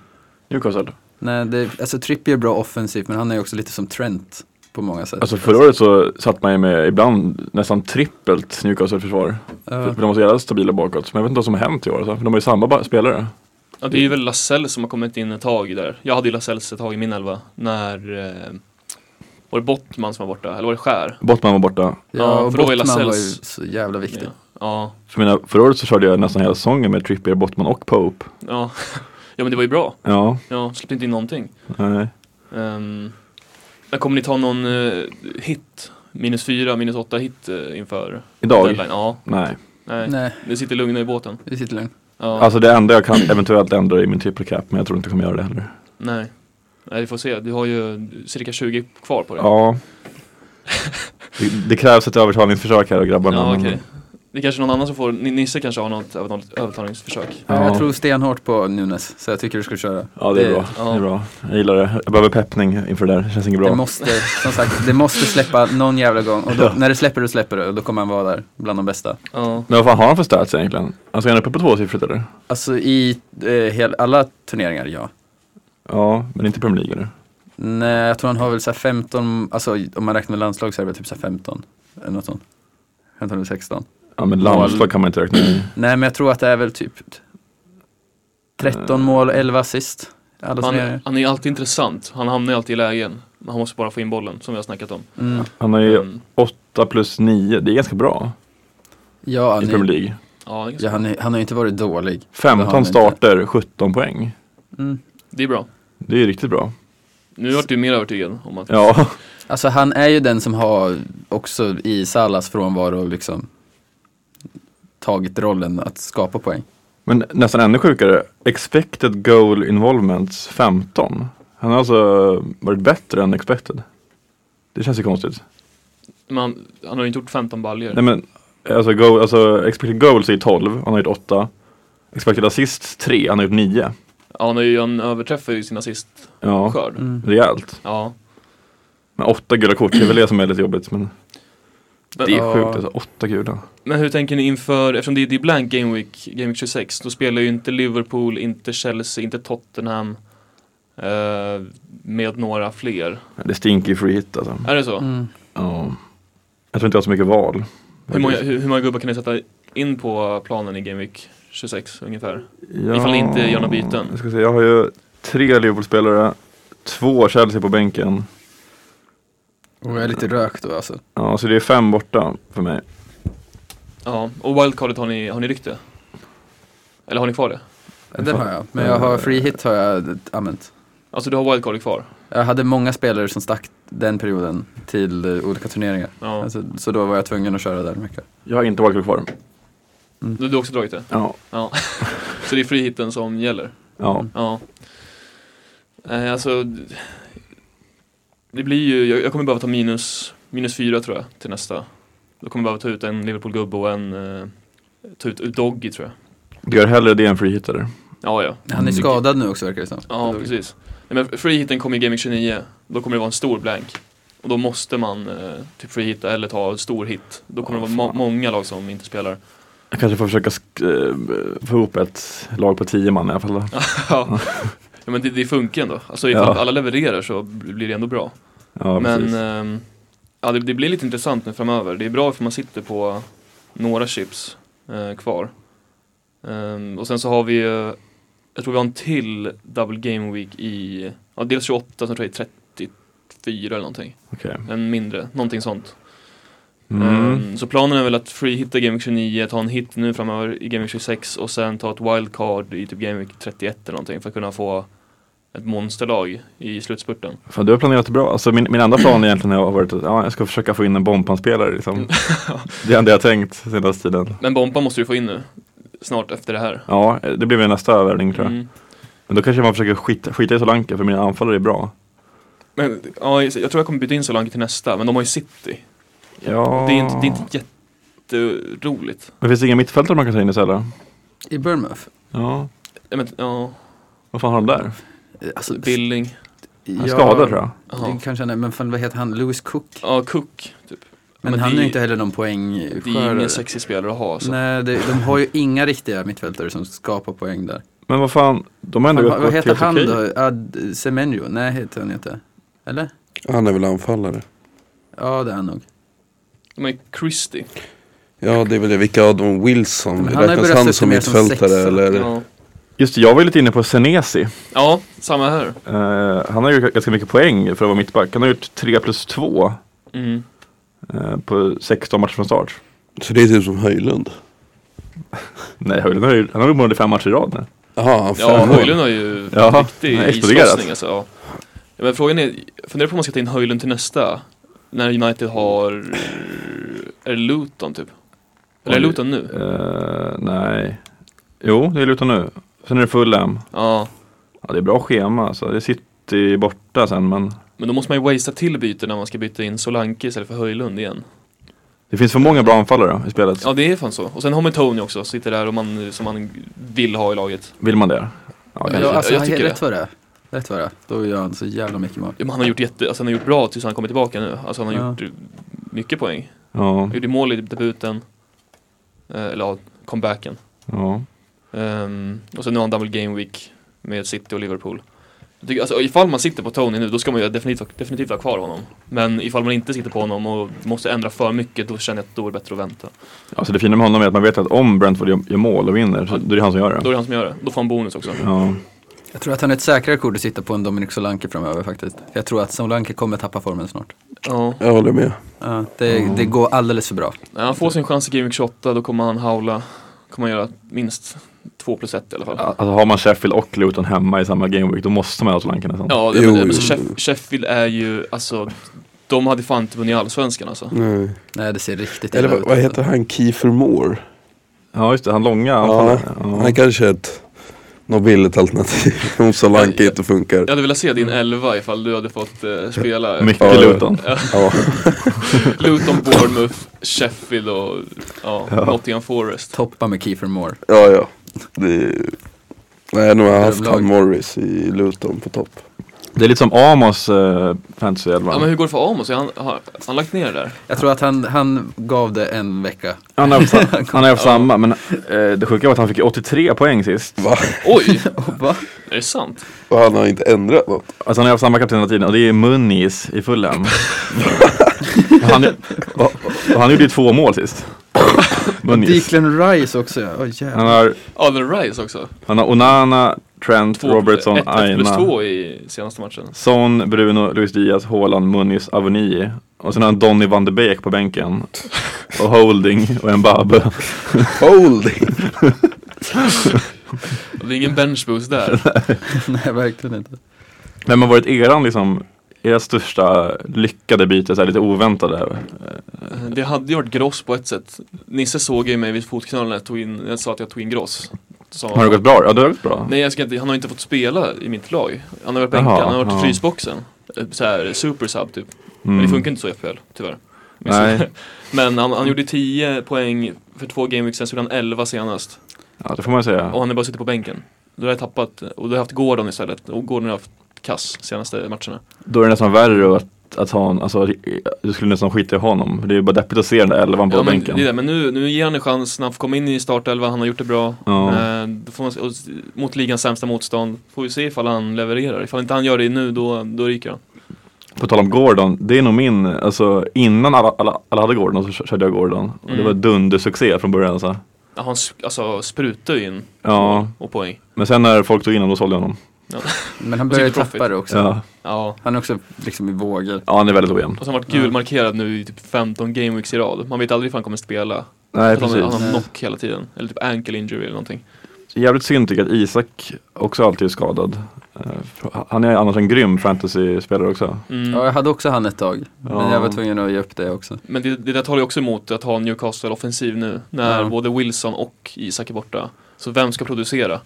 Newcastle. Nej, det, alltså Trippier är bra offensivt, men han är ju också lite som Trent på många sätt. Alltså förra året så satt man ju med ibland nästan trippelt Newcastle-försvar. För, Ja. för de var så jävla stabila bakåt. Men jag vet inte vad som har hänt i år. Alltså. För de har ju samma ba- spelare. Ja, det är ju väl Lascelles som har kommit in ett tag där. Jag hade ju Lascelles ett tag i min elva när eh, var det Bottman som var borta, eller var det Skär? Bottman var borta. ja, och för då var ju Bottman var ju Lasells- så jävla viktig. Ja, ja, För mina, förra året så körde jag nästan hela säsongen med Trippier, Bottman och Pope. ja. ja men det var ju bra. Ja, Ja, släppte inte in någonting. nej. Ehm, men kommer ni ta någon eh, hit? Minus fyra, minus åtta hit eh, inför Idag? deadline? Ja, Nej. nej. Nej, Ni sitter lugna i båten? vi sitter lugnt. Ja. Ja, Alltså det enda jag kan eventuellt ändra är min triple cap, men jag tror inte jag kommer göra det heller. nej. Nej, vi får se. Du har ju cirka 20 kvar på dig. Ja. Det, det krävs ett övertalningsförsök här av grabbarna. ja men- okej. Det är kanske någon annan som får, N- Nisse kanske har något övertal- övertalningsförsök. Ja. Jag tror stenhårt på Nunes, så jag tycker du ska köra. Ja det är bra, Ja. det är bra. Jag gillar det. Jag behöver peppning inför det där, det känns inget Det bra. måste, som sagt, det måste släppa någon jävla gång. Och då, Ja. när det släpper, då släpper det. Och då kommer han vara där, bland de bästa. Ja. Men vad fan har han för stats egentligen? Alltså är han uppe på tvåsiffrigt eller? Alltså i eh, hel, alla turneringar, ja. Ja, men inte Premier League eller? Nej, jag tror han har väl så här 15, alltså om man räknar med landslag så är det väl typ så här 15. Eller något sånt. 15 eller 16. Ja men landslag kan man inte räkna i. Nej, men jag tror att det är väl typ Mm. 13 mål och 11 assist. Alla Han, turneringar. han är ju alltid intressant. Han hamnar ju alltid i lägen. Han måste bara få in bollen, som vi har snackat om. Mm. Han har ju Mm. 8 plus 9, det är ganska bra Ja, i han, Premier är, League. Ja, det är, ganska- ja han, är, han har ju inte varit dålig. Det har han 15 inte. starter, 17 poäng. Mm. det är bra. Det är ju riktigt bra. Nu vart du mer övertygad om att... Ja, Alltså han är ju den som har också i Salas frånvaro liksom tagit rollen att skapa poäng. men nästan ännu sjukare. Expected goal involvements 15. Han har alltså varit bättre än expected. Det känns ju konstigt. Men han, han har ju inte gjort 15 baljor. Nej men, alltså, goal, alltså expected goals är 12, han har gjort 8. Expected assists 3, han har gjort 9. Ja, han har ju en överträff i sin assistskörd. Ja, Mm. rejält. Ja. Men 8 gula kort, det är väl det som är lite jobbigt. Men Men, det är Ja. sjukt alltså, 8 gula. men hur tänker ni inför, eftersom det är det är blank Game Week, Game Week 26, då spelar ju inte Liverpool, inte Chelsea, inte Tottenham eh, med några fler. Det stinker ju free hit alltså. Är det så? Mm. Ja. Jag tror inte jag har så mycket val. Hur, många, hur, hur många gubbar kan ni sätta in på planen i Game Week 26 ungefär? Ja, Ifall ni inte gör några byten. Jag, ska se, jag har ju tre Liverpool-spelare, två Chelsea på bänken. Och jag är lite rökt då alltså. Ja, så det är fem borta för mig. Ja, och wildcardet har ni, har ni ryckt det? Eller har ni kvar det? Den har jag, men jag har free hit har jag använt. Alltså du har wildcardet kvar? Jag hade många spelare som stack den perioden till eh, olika turneringar. Ja. Alltså, så då var jag tvungen att köra där mycket. Jag har inte wildcard kvar. Du, du har också dragit det? Ja, Ja. Så det är friheten som gäller? ja. Ja. Eh, alltså, det blir ju, jag, jag kommer behöva ta minus, minus fyra tror jag till nästa. Då kommer jag behöva ta ut en Liverpool-gubbe och en, eh, ta ut ut Doggy tror jag. Du gör hellre det än free hit eller? Ja, ja. Han är Mm. skadad nu också verkar det som. Ja, precis. Nej, men freehiten kommer i Gaming 29, då kommer det vara en stor blank. Och då måste man eh, typ freehitta eller ta en stor hit. Då kommer det vara må- många lag som inte spelar. Jag kanske får försöka sk- eh, få ihop ett lag på tio man i alla fall. då. ja, men det, det funkar ändå. Alltså ifall Ja. alla levererar så blir det ändå bra. Ja, Men precis. ehm, ja, det, det blir lite intressant nu framöver. Det är bra för man sitter på några chips eh, kvar. Ehm, och sen så har vi, eh, jag tror vi har en till Double Game Week i, ja dels 28, sen tror jag det är 34 eller någonting. Okej. En mindre, någonting sånt. Mm. Ehm, så planen är väl att free hitta Game Week 29, ta en hit nu framöver i Game Week 26 och sen ta ett wildcard i typ Game Week 31 eller någonting för att kunna få ett monsterlag i slutspurten. Fan, du har planerat bra. Alltså, min, min andra plan egentligen har varit att ja, jag ska försöka få in en bompanspelare. Mm. Liksom. Det är det jag har tänkt senaste tiden. Men Bompa måste du få in nu, snart efter det här. Ja, det blir väl nästa värvning Mm, tror jag. Mm. Men då kanske man försöker skita, skita i Solanke för mina anfallare är bra. Men, ja, jag tror jag kommer byta in Solanke till nästa, men de har ju City. Ja. Det är inte, det är inte jätteroligt. Men finns det inga mittfältare man kan ta in istället? I Bournemouth? Ja. Ja, Men, ja, Vad fan har de där? Alltså, Billing. Han är skadad tror jag. Det Ja, kanske han är, men fan, vad heter han? Lewis Cook? ja Cook, typ. Men, Men han det- är ju inte heller någon Det är ingen alltså. poängskörare. sexig spelare att ha. Så. Nej, det, de har ju inga riktiga mittfältare som skapar poäng där. Men vad fan, de har ändå Fan, gått vad, vad helt heter han okej. då? Ad Semenyo? Nej, heter han inte. Eller? Han är väl anfallare? Ja, det är han nog. Men Christie. Ja det är väl det, vilka av dem? Wilson? Men han har ju Räknas börjat han se som mer som mittfältare sexa. eller? Ja. Just det, jag var ju lite inne på Senesi. ja, samma här. Eh, han har ju ganska mycket poäng för att vara mittback. Han har gjort 3 plus 2 Mm. eh, på 16 matcher från start. Så det är typ som Höjlund? Nej, Höjlund har ju- han har ju mål i fem matcher i rad nu. Jaha, Ja, fem mål. Höjlund har ju Ja, riktig han har exploderat. islossning alltså. Ja. Ja, Men frågan är, funderar på om man ska ta in Höjlund till nästa? När United har, är det Luton typ? Eller är det Luton nu? Eh, nej, Jo, det är Luton nu. Sen är det Fulham. Ja. Ja, det är bra schema alltså. Det sitter ju borta sen men Men då måste man ju wastea till byten när man ska byta in Solanke istället för Höjlund igen. det finns för många bra anfallare i spelet. Ja det är fan så. Och sen har man Tony också, sitter där och man, som man vill ha i laget. Vill man det? Ja, Ja, kanske. alltså, jag han tycker ger det. rätt vad det är. Rätt vad det är. Då gör han så jävla mycket mål. Ja, men han har gjort jätte, alltså han har gjort bra tills han kommer tillbaka nu. Alltså han har Ja. gjort eh, mycket poäng. ja, Han gjorde mål i debuten. Eh, eller ja, comebacken. ja. Ehm, och sen nu har han double game week med City och Liverpool. Jag tycker, alltså, ifall man sitter på Tony nu, då ska man ju definitivt, definitivt ha kvar honom. Men ifall man inte sitter på honom och måste ändra för mycket, då känner jag att då är det bättre att vänta. Alltså det fina med honom är att man vet att om Brentford gör, gör mål och vinner, så, då är det han som gör Då är det. det han som gör det. Då får han bonus också. Ja, Jag tror att han är ett säkrare kort att sitta på än Dominic Solanke framöver faktiskt. Jag tror att Solanke kommer tappa formen snart. Ja. Jag håller med. Ja, det, det går alldeles för bra. När han får sin chans i Game Week 28, då kommer han howla. Kommer han göra minst 2 plus 1 i alla fall. alltså har man Sheffield och Luton hemma i samma gameweek, då måste man ha Solanke nästan. Ja, det, Jo, men, men jo. Sheff- Sheffield är ju, alltså, de hade fan inte vunnit allsvenskan alltså. Nej. Nej, det ser riktigt Eller illa vad, ut. vad heter han? Kiefer Moore? Ja, just det, han långa Ja, anfallaren. Ja. Han kanske är ett något billigt alternativ om Solanke inte funkar. Jag hade velat se din elva ifall du hade fått eh, spela Mycket Ja. Luton. Ja. Luton, Bournemouth, Sheffield och ja, Nottingham Forest. Toppa med Kiefer Moore. Ja, ja. Det är... Nej, nu har jag haft Drömlag. han Morris i Luton på topp. Det är lite som Amos eh, fantasy elva. Ja men hur går det för Amos? Har han, har han lagt ner det där? Jag tror att han, han gav det en vecka. Han har haft, sa- han har haft samma, men eh, det sjuka var att han fick 83 poäng sist. Va? Oj! Va? Är det sant? Och han har inte ändrat något. Alltså han har haft samma kapten hela tiden och det är Munnis i Fulham. och, han, och, och han gjorde ju två mål sist. Munnis. Declan Rice också ja. Åh, jävlar. Han har, Ja, den Rice också. han har Onana, Trent, Två- Robertson, ett- ett plus Aina, två i senaste matchen. Son, Bruno, Luis Diaz, Haaland, Munnis, Avoni. Och sen har han Donny van de Beek på bänken. Och Holding och Mbappe. Holding! Det är ingen bench boost där. Nej, verkligen inte. Vem har varit eran liksom, era största lyckade byte, så här, lite oväntade? Det hade ju varit gross på ett sätt. Nisse såg ju mig vid fotknölen när jag, tog in, jag sa att jag tog in gross. Sa han, Har det gått bra? Ja, det har gått bra. Nej, jag ska inte, han har inte fått spela i mitt lag. Han har varit bänkad, Jaha, han har varit ja. i frysboxen. Eh, Så här, super sub typ. Men det Mm. funkar inte så i FPL, tyvärr. Men- Nej. Men han, han gjorde 10 poäng för två gameweeks, sen så gjorde han 11 senast. Ja, det får man ju säga. Och han har bara suttit på bänken. Då har jag tappat, och då har jag haft Gordon istället. Och Gordon har haft kass senaste matcherna. Då är det nästan värre att, att ha en, alltså du skulle nästan skita i honom. Det är ju bara deppigt att se den där elvan på Ja, men, det bänken. är det. men nu, nu ger han en chans när han får komma in i startelvan, han har gjort det bra. Ja. Eh, då får man, se- och, s- mot ligans sämsta motstånd. Får vi se ifall han levererar. Ifall inte han gör det nu, då, då ryker han. På tal om Gordon, det är nog min, alltså innan alla, alla, alla hade Gordon så kö- körde jag Gordon. Och det Mm. var dundersuccé från början alltså. Ja, Han sk- alltså, sprutar ju in Ja, och poäng. men sen när folk tog in honom då sålde jag honom. Men han börjar ju Super profit. tappa det också. Ja, Ja. Han är också liksom i vågor. ja han är väldigt ojämn. Och sen vart gulmarkerad nu i typ 15 gameweeks i rad. Man vet aldrig ifall han kommer spela. Nej, Att han, han precis. har knock hela tiden. Eller typ ankle injury eller någonting. Jävligt synd tycker jag att Isak också alltid är skadad. Eh, för- Han är annars en grym fantasy-spelare också. Mm. Ja, jag hade också han ett tag. Men Ja. jag var tvungen att ge upp det också. Men det, det där talar ju också emot att ha en Newcastle-offensiv nu. När Ja. både Wilson och Isak är borta. Så vem ska producera?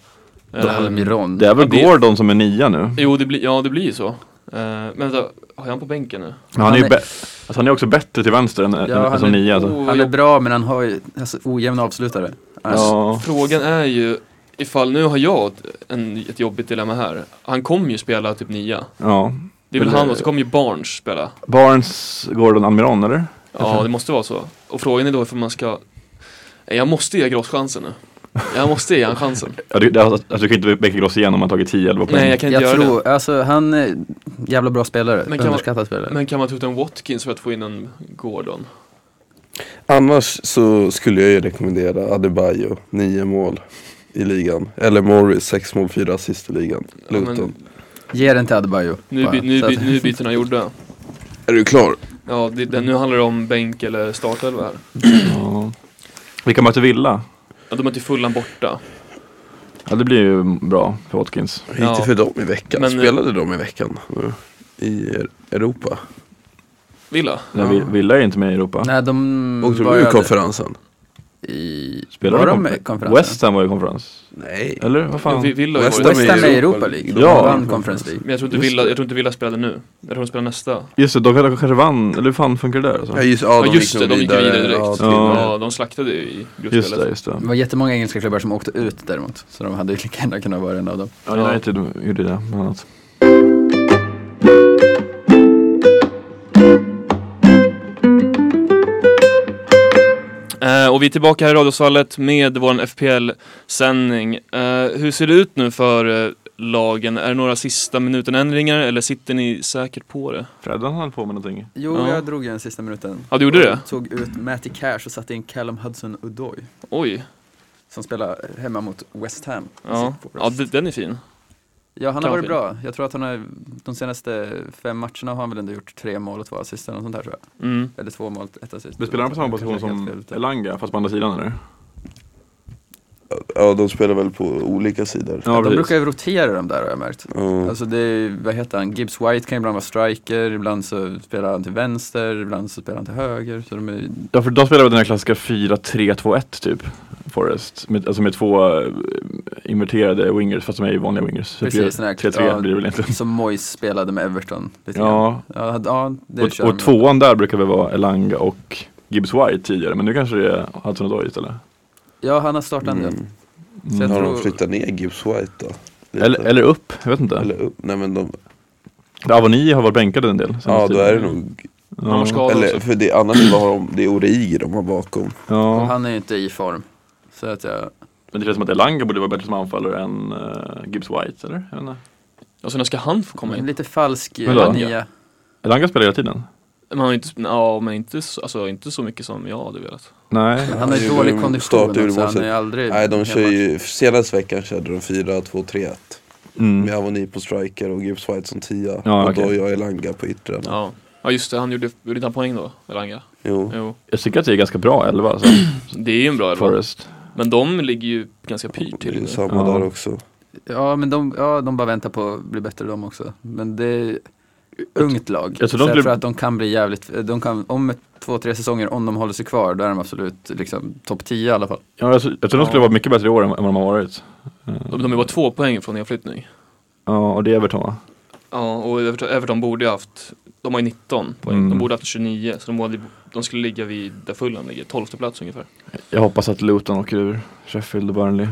Då hade Eh, Miron. Det är väl Ja, det- Gordon som är nia nu. Jo, det blir, ja det blir ju så. Eh, men vänta, har jag han på bänken nu? Men han, är ju Han bä- alltså, han är också bättre till vänster än, än, han som är- nia. Alltså. Oh, Han är jag- bra men han har ju alltså, ojämna avslutare. Alltså, Ja. Frågan är ju, ifall nu har jag ett- en, ett jobbigt dilemma här. Han kommer ju spela typ nia. ja. Det är väl Eller- han och så kommer ju Barnes spela. Barnes, Gordon, Almiron eller? Ja, det måste vara så. Och frågan är då ifall man ska... Nej, Jag måste ge Gross chansen nu. Jag måste ge han chansen. Ja, du, det, alltså, du kan inte bäcka loss igen om man tagit 10-11 poäng. Nej, jag kan inte jag göra tror, alltså han är jävla bra spelare. Men kan man- Underskattad det. spelare. Men kan man ta ut en Watkins för att få in en Gordon? Annars så skulle jag ju rekommendera Adebayo, nio mål i ligan. Eller Morris, sex mål, fyra assist i ligan. Ja, men- Luton. Ge den till Adebayo. Nu, bara. by, nu, Så by, att- nu är bytena gjorda. Är du klar? Ja, det, det, nu handlar det om bänk eller startelva här. Ja. Vilka möter Villa? Ja, de är till Fulham borta. Ja, det blir ju bra för Watkins. Ja. Inte för dem i veckan. Men- Spelade de i veckan nu? I Europa? Villa? Nej, Vi- Villa är inte med i Europa. Nej, de Åkte de var ju- ur konferensen? i... Spelade var de konfer- i konferensen? West Ham var ju konferens. Nej. Eller vad fan? Vi- Villa har ju West varit- Ham West Ham är i Europa League. De Ja. vann Conference League. Men jag tror inte Just Villa, det. jag tror inte Villa spelade nu. Jag tror de spelar nästa. Just det, de kanske kanske vann. Eller hur fan funkar det där? Alltså? Ja just, ja, Ja just det, nog de gick ju vidare direkt. Ja, Ja, till- Ja. de slaktade ju i Just det, gruppspelet. just det. Det var jättemånga engelska klubbar som åkte ut däremot. Så de hade ju lika gärna kunnat vara en av dem. Ja, United gjorde det, bland annat. Eh, och vi är tillbaka här i Radiosalet med vår FPL-sändning. Eh, hur ser det ut nu för eh, lagen? Är det några sista minuten-ändringar eller sitter ni säkert på det? Freddan höll på med någonting. Jo, Ja. jag drog ju den sista minuten. Ja, du gjorde det? Tog ut Matty Cash och satte in Callum Hudson-Odoi. Oj. Som spelar hemma mot West Ham. Ja, Sitt ja Forest. d- den är fin. Ja, han har Kanske. varit bra. Jag tror att han har, de senaste fem matcherna har han väl ändå gjort tre mål och två assist eller något sånt där tror jag. Mm. Eller två mål, ett assist. Det spelar han på samma Kanske position helt som fel ute. Elanga, fast på andra sidan eller? ja, de spelar väl på olika sidor. Ja, de brukar ju rotera de där har jag märkt. Ja. Alltså det är, vad heter han, Gibbs White kan ibland vara striker, ibland så spelar han till vänster, ibland så spelar han till höger. Så de är, Ja, för de spelar väl den här klassiska 4-3-2-1 typ, Forest. Med, alltså med två eh, inverterade wingers, fast de är ju vanliga wingers. Så Precis, den här- 3-3 ja. blir det väl egentligen. som Moyes spelade med Everton. Lite grann. Ja, Ja, hade- ja, det kör och, de och ju. tvåan där brukar väl vara Elanga och Gibbs White tidigare, men nu kanske det är Hudson-Odoi istället. Ja, han har startat Mm. den. Så Mm, jag Har tror, de flyttat ner Gibbs White då? Lite. Eller, eller upp, jag vet inte. Eller upp? Nej men de, Avoni har varit bänkad en del. senaste ja då tiden. är det nog, Han var Ja, skadad eller också. för det, annars vad har de, det är Origi de har bakom. och ja. han är ju inte i form. Så att jag, Men det känns som att Elanga borde vara bättre som anfallare än eh, Gibbs White, eller? Jag vet inte. Och sen när ska han få komma en in? lite falsk Vadå? eh, nia. Elanga spelar hela tiden. Men han har ju inte, ja, men inte, så- alltså, inte så mycket som jag hade velat. Nej, Han har ju Ja, dålig de kondition startar ju också, han är målsätt- ju aldrig Nej de hemma. kör ju, senaste veckan körde de 4-2-3-1. mm. Med Avoni på striker och Gibbs White som tia. Ja, och okej. då jag Elanga på yttrarna. Ja, ja just det, han gjorde, gjorde inte han poäng då, Elanga? Jo. Jo. jag tycker att det är ganska bra elva alltså, Det är ju en bra elva. Forest. Men de ligger ju ganska pyrt Det är till ju nu. samma Ja. där också. Ja, men de, ja, de bara väntar på att bli bättre de också. Men det är ungt lag. jag tror de så skulle- för att de kan bli jävligt, de kan, om ett, två, tre säsonger, om de håller sig kvar, då är de absolut liksom topp 10 i alla fall. Ja, jag, tror- jag tror de skulle Ja. vara mycket bättre i år än, än vad de har varit. De, de är bara två poäng från nedflyttning. Ja, och det är Everton va? Ja, och Everton, Everton borde ju haft, de har ju 19 poäng, Mm. de borde haft 29, så de, borde, de skulle ligga vid där Fulham ligger, 12 plats ungefär. Jag hoppas att Luton åker ur Sheffield och Burnley.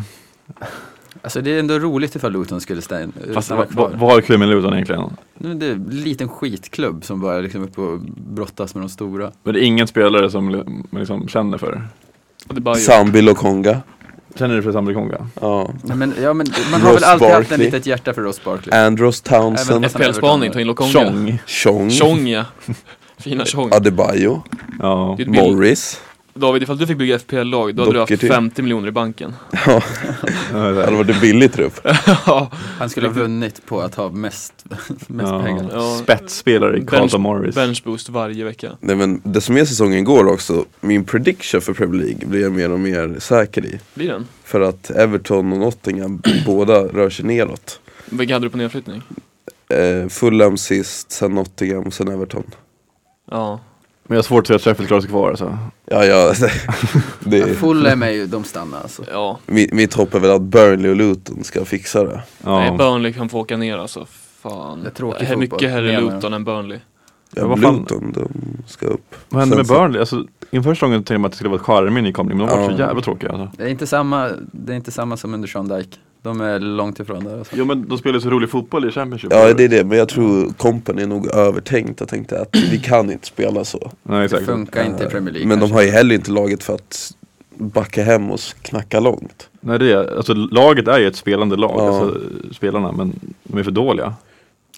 Alltså det är ändå roligt ifall Luton skulle stäng, eh, Fast stanna vad va, kvar. vad har klubben Luton egentligen? Nu är det en liten skitklubb som bara liksom är på och brottas med de stora. Men det är ingen spelare som li- man liksom känner för. Och det är Bayern. Sambil och Konga. Känner du för Sambi Konga? Ja. Ja, men, ja, men man har väl Ross alltid haft en Barkley. litet hjärta för Ross Barkley. Andros Townsend. Även- FPL-spaning, ta in Lokonga. Tjong! Chong. Tjong ja. Fina Tjong. Adebayo. Ja. Det är ett bild- Morris. David, ifall du fick bygga FPL-lag, då hade du haft Doherty. 50 miljoner i banken. Det hade varit en billig trupp. ja, Han skulle ha Äh, vunnit på att ha mest, mest pengar. Ja. Spetsspelare i Carlton Morris. bench boost varje vecka. Nej men det som är säsongen går också, min prediction för Premier League blir jag mer och mer säker i. Blir den? För att Everton och Nottingham båda rör sig neråt. Vilka hade du på nedflyttning? Eh, Fulham sist, sen Nottingham och sen Everton. Ja. Men jag har svårt att se att Sheffield klarar sig kvar alltså. Ja, ja. Det Ja, är, Fulham är ju, de stannar alltså. Ja. mi- mitt hopp är väl att Burnley och Luton ska fixa det. Ja. Nej, Burnley kan få åka ner alltså. Fan. Det är tråkig Här- Mycket fotboll, hellre menar jag. Luton än Burnley. Ja, vad fan- Luton, de ska upp. Vad hände Sen med så- Burnley? Alltså, inför säsongen tänkte man att det skulle vara ett charmig nykomling, men de var så Ja. jävla tråkiga alltså. Det är inte samma, det är inte samma som under Sean Dyke. De är långt ifrån där. Alltså. Jo men de spelar ju så rolig fotboll i Championship. Ja det är det, men jag tror kompen är nog övertänkt och tänkte att vi kan inte spela så. Nej, Det exakt. funkar inte i Premier League. Men de kanske. har ju heller inte laget för att backa hem och knacka långt. Nej det är, alltså laget är ju ett spelande lag, Ja. alltså spelarna, men de är för dåliga.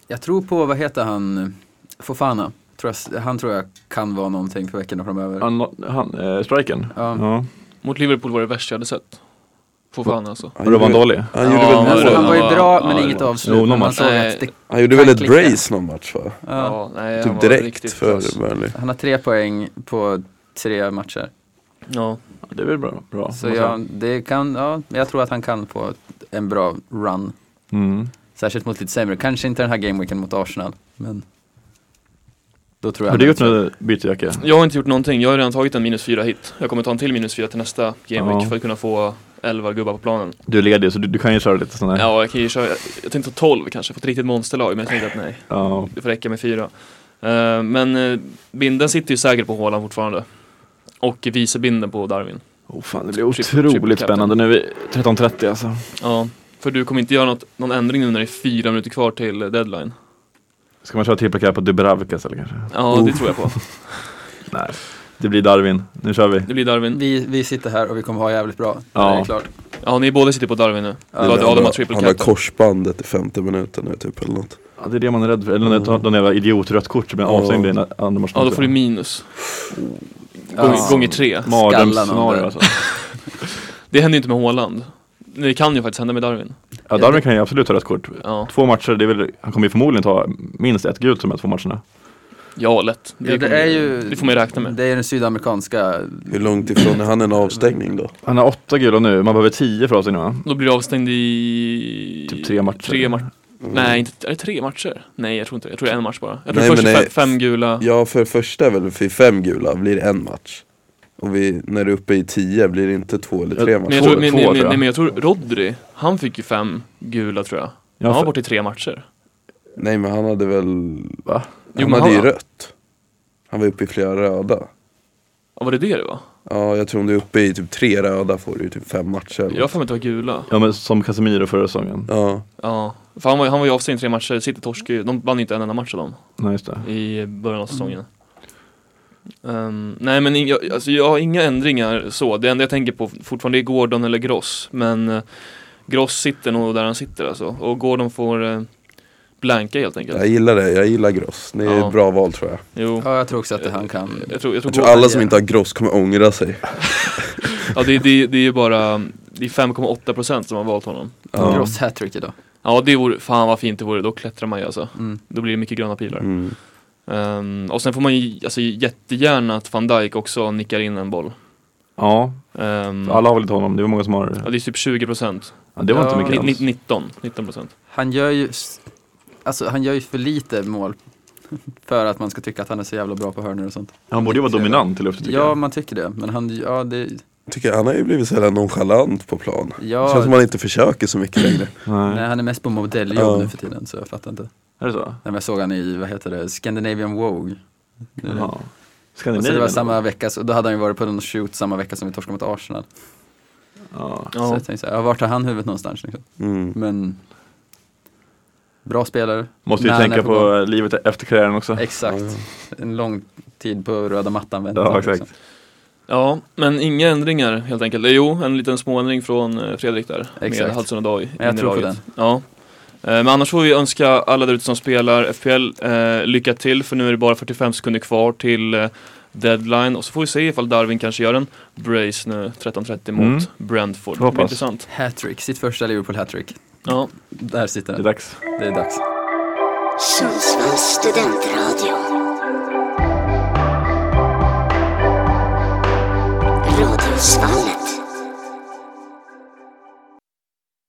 Jag tror på, vad heter han, Fofana. Tror jag, han tror jag kan vara någonting för veckorna framöver. Han, han eh, strikern. Ja. Ja. Mot Liverpool var det värsta jag hade sett. Få fan alltså. Och då var han dålig. Ja, Han gjorde men väl Alltså, det- han mål. var ju ja, bra ja, men det inget var- avslut. Jo, någon men man match. såg Nej. att det, Han gjorde väl ett Verkligen. brace någon match va? ja, nej, han Typ var direkt riktigt för klass. Burnley. han har tre poäng på tre matcher. Ja. Det är väl bra. bra Så man jag, säger. det kan, ja, jag tror att han kan få en bra run. Mm. Särskilt mot lite sämre, kanske inte den här gameweeken mot Arsenal. Men Då tror jag Har du han- gjort något bytejacka? Jag har inte gjort någonting, jag har redan tagit en minus fyra hit. Jag kommer ta en till minus fyra till nästa game week Ja. för att kunna få 11 gubbar på planen. Du är ledig så du, du kan ju köra lite sådana här. Ja, jag kan ju köra, jag tänkte ta 12 kanske, för ett riktigt monsterlag, men jag tänkte att nej, Ja. det får räcka med fyra. Eh, men uh, binden sitter ju säkert på Haaland fortfarande. Och vicebinden på Darwin. Oh, fan, det blir Triple- triple otroligt captain. spännande nu. är vi 13.30 alltså. Ja, för du kommer inte göra något, någon ändring nu när det är fyra minuter kvar till deadline. Ska man köra triple cap på Dubravkas eller kanske? Ja, Oh. det tror jag på. Nej, det blir Darwin. Nu kör vi. Det blir Darwin. Vi, vi sitter här och vi kommer ha jävligt bra. Ja. Det är klart. Ja, ni båda sitter på Darwin nu. Ja, Ja, att Adam har triple han har cap. korsbandet i femte minuten nu typ eller något. Ja, det är det man är rädd för. Eller mm. någon jävla idiot rött kort som blir Ja. avstängd i en andra match. Ja, då får du minus. Oh. Gånger, Ja. gånger tre. Skallar någon Mardrömsscenario alltså. Det händer ju inte med Haaland. Det kan ju faktiskt hända med Darwin. Ja, Darwin kan ju absolut ta rött kort. Ja, Två matcher, det är väl, han kommer ju förmodligen ta minst ett gult de här två matcherna. ja lätt. Ja, det, är ju, det får man ju räkna med. Det är den sydamerikanska, Hur långt ifrån är han en avstängning då? Han har åtta gula nu, man behöver tio för avstängning va? Då blir du avstängd i... Typ tre matcher. Mm. Tre matcher. Nej, inte, är det tre matcher? Nej, jag tror inte det. Jag tror det är en match bara. Jag tror Nej, först men är det- fe- fem gula. Ja för det första är väl för fem gula blir det en match. Och vi, när du är uppe i tio blir det inte två eller tre Men matcher. jag, Två- tror, men, två, men, tror jag. men, men jag tror Rodri, han fick ju fem gula tror jag. Ja, Han var för- borta i tre matcher. Nej men han hade väl, Va? Jo, han men hade han- ju rött. Han var uppe i flera röda. Ja, var det det det var? Ja jag tror om du är uppe i typ tre röda får du ju typ fem matcher. eller Jag har för mig att det var gula. Ja men som Casemiro förra säsongen. Ja, Ja, för han var, han var ju avstängd i tre matcher. City torskade ju. De vann ju inte en enda match av dem. Nej just det. i början av säsongen. Ehm, nej men inga, alltså jag har inga ändringar så, det enda jag tänker på fortfarande är Gordon eller Gross. Men eh, Gross sitter nog där han sitter alltså och Gordon får eh, blanka helt enkelt. jag gillar det, jag gillar Gross. Det är Ja. ett bra val tror jag. Jo, ja jag tror också att det, han jag kan. tror, jag tror, Jag tror Gordon, alla som inte har Gross kommer ångra sig. ja, det, det, det är ju bara det är 5,8% som har valt honom. Ja. Gross hattrick idag. Ja det vore, fan vad fint det vore, då klättrar man ju alltså. Mm. Då blir det mycket gröna pilar. Mm. Ehm, och sen får man ju alltså, jättegärna att van Dijk också nickar in en boll. Ja, Ehm, alla har väl inte honom, det var många som har. ja, det är typ 20%. Ja, det var Ja. inte Ni- mycket ni- alls. 19, 19 procent. Han gör ju, s- alltså han gör ju för lite mål. För att man ska tycka att han är så jävla bra på hörnor och sånt. Han borde ju vara dominant i luften tycker Ja, jag. man tycker det. Men han, ja det, Tycker han har ju blivit så jävla nonchalant på plan. Det ja, känns som han inte försöker så mycket längre. nej, Nej. han är mest på modelljobb Ja. nu för tiden så jag fattar inte. Är det så? Nej, men jag såg han i, vad heter det, Scandinavian Vogue. Nu. Ja. Och så det var Skandinavien. samma vecka, så då hade han ju varit på någon shoot samma vecka som vi torskade mot Arsenal. Ja. Så Ja. jag tänkte såhär, ja, vart har han huvudet någonstans liksom? Mm. Men bra spelare. Måste ju När han är tänka på, gång. livet efter karriären också. Exakt. En lång tid på röda mattan väntar. Ja, exakt. Liksom. ja, men inga ändringar helt enkelt. Eh, Jo, en liten småändring från eh, Fredrik där med Exakt. Hudson och Doy. Men jag tror på Ja. Eh, Men annars får vi önska alla där ute som spelar FPL eh, lycka till för nu är det bara 45 sekunder kvar till eh, deadline och så får vi se ifall Darwin kanske gör en brace nu 13.30 mot Mm. Brentford. Det Hoppas. blir intressant. Hattrick, sitt första Liverpool-hattrick. Ja. Där sitter Det den, är dags. det är dags. Sundsvalls studentradio. Radhusvallen.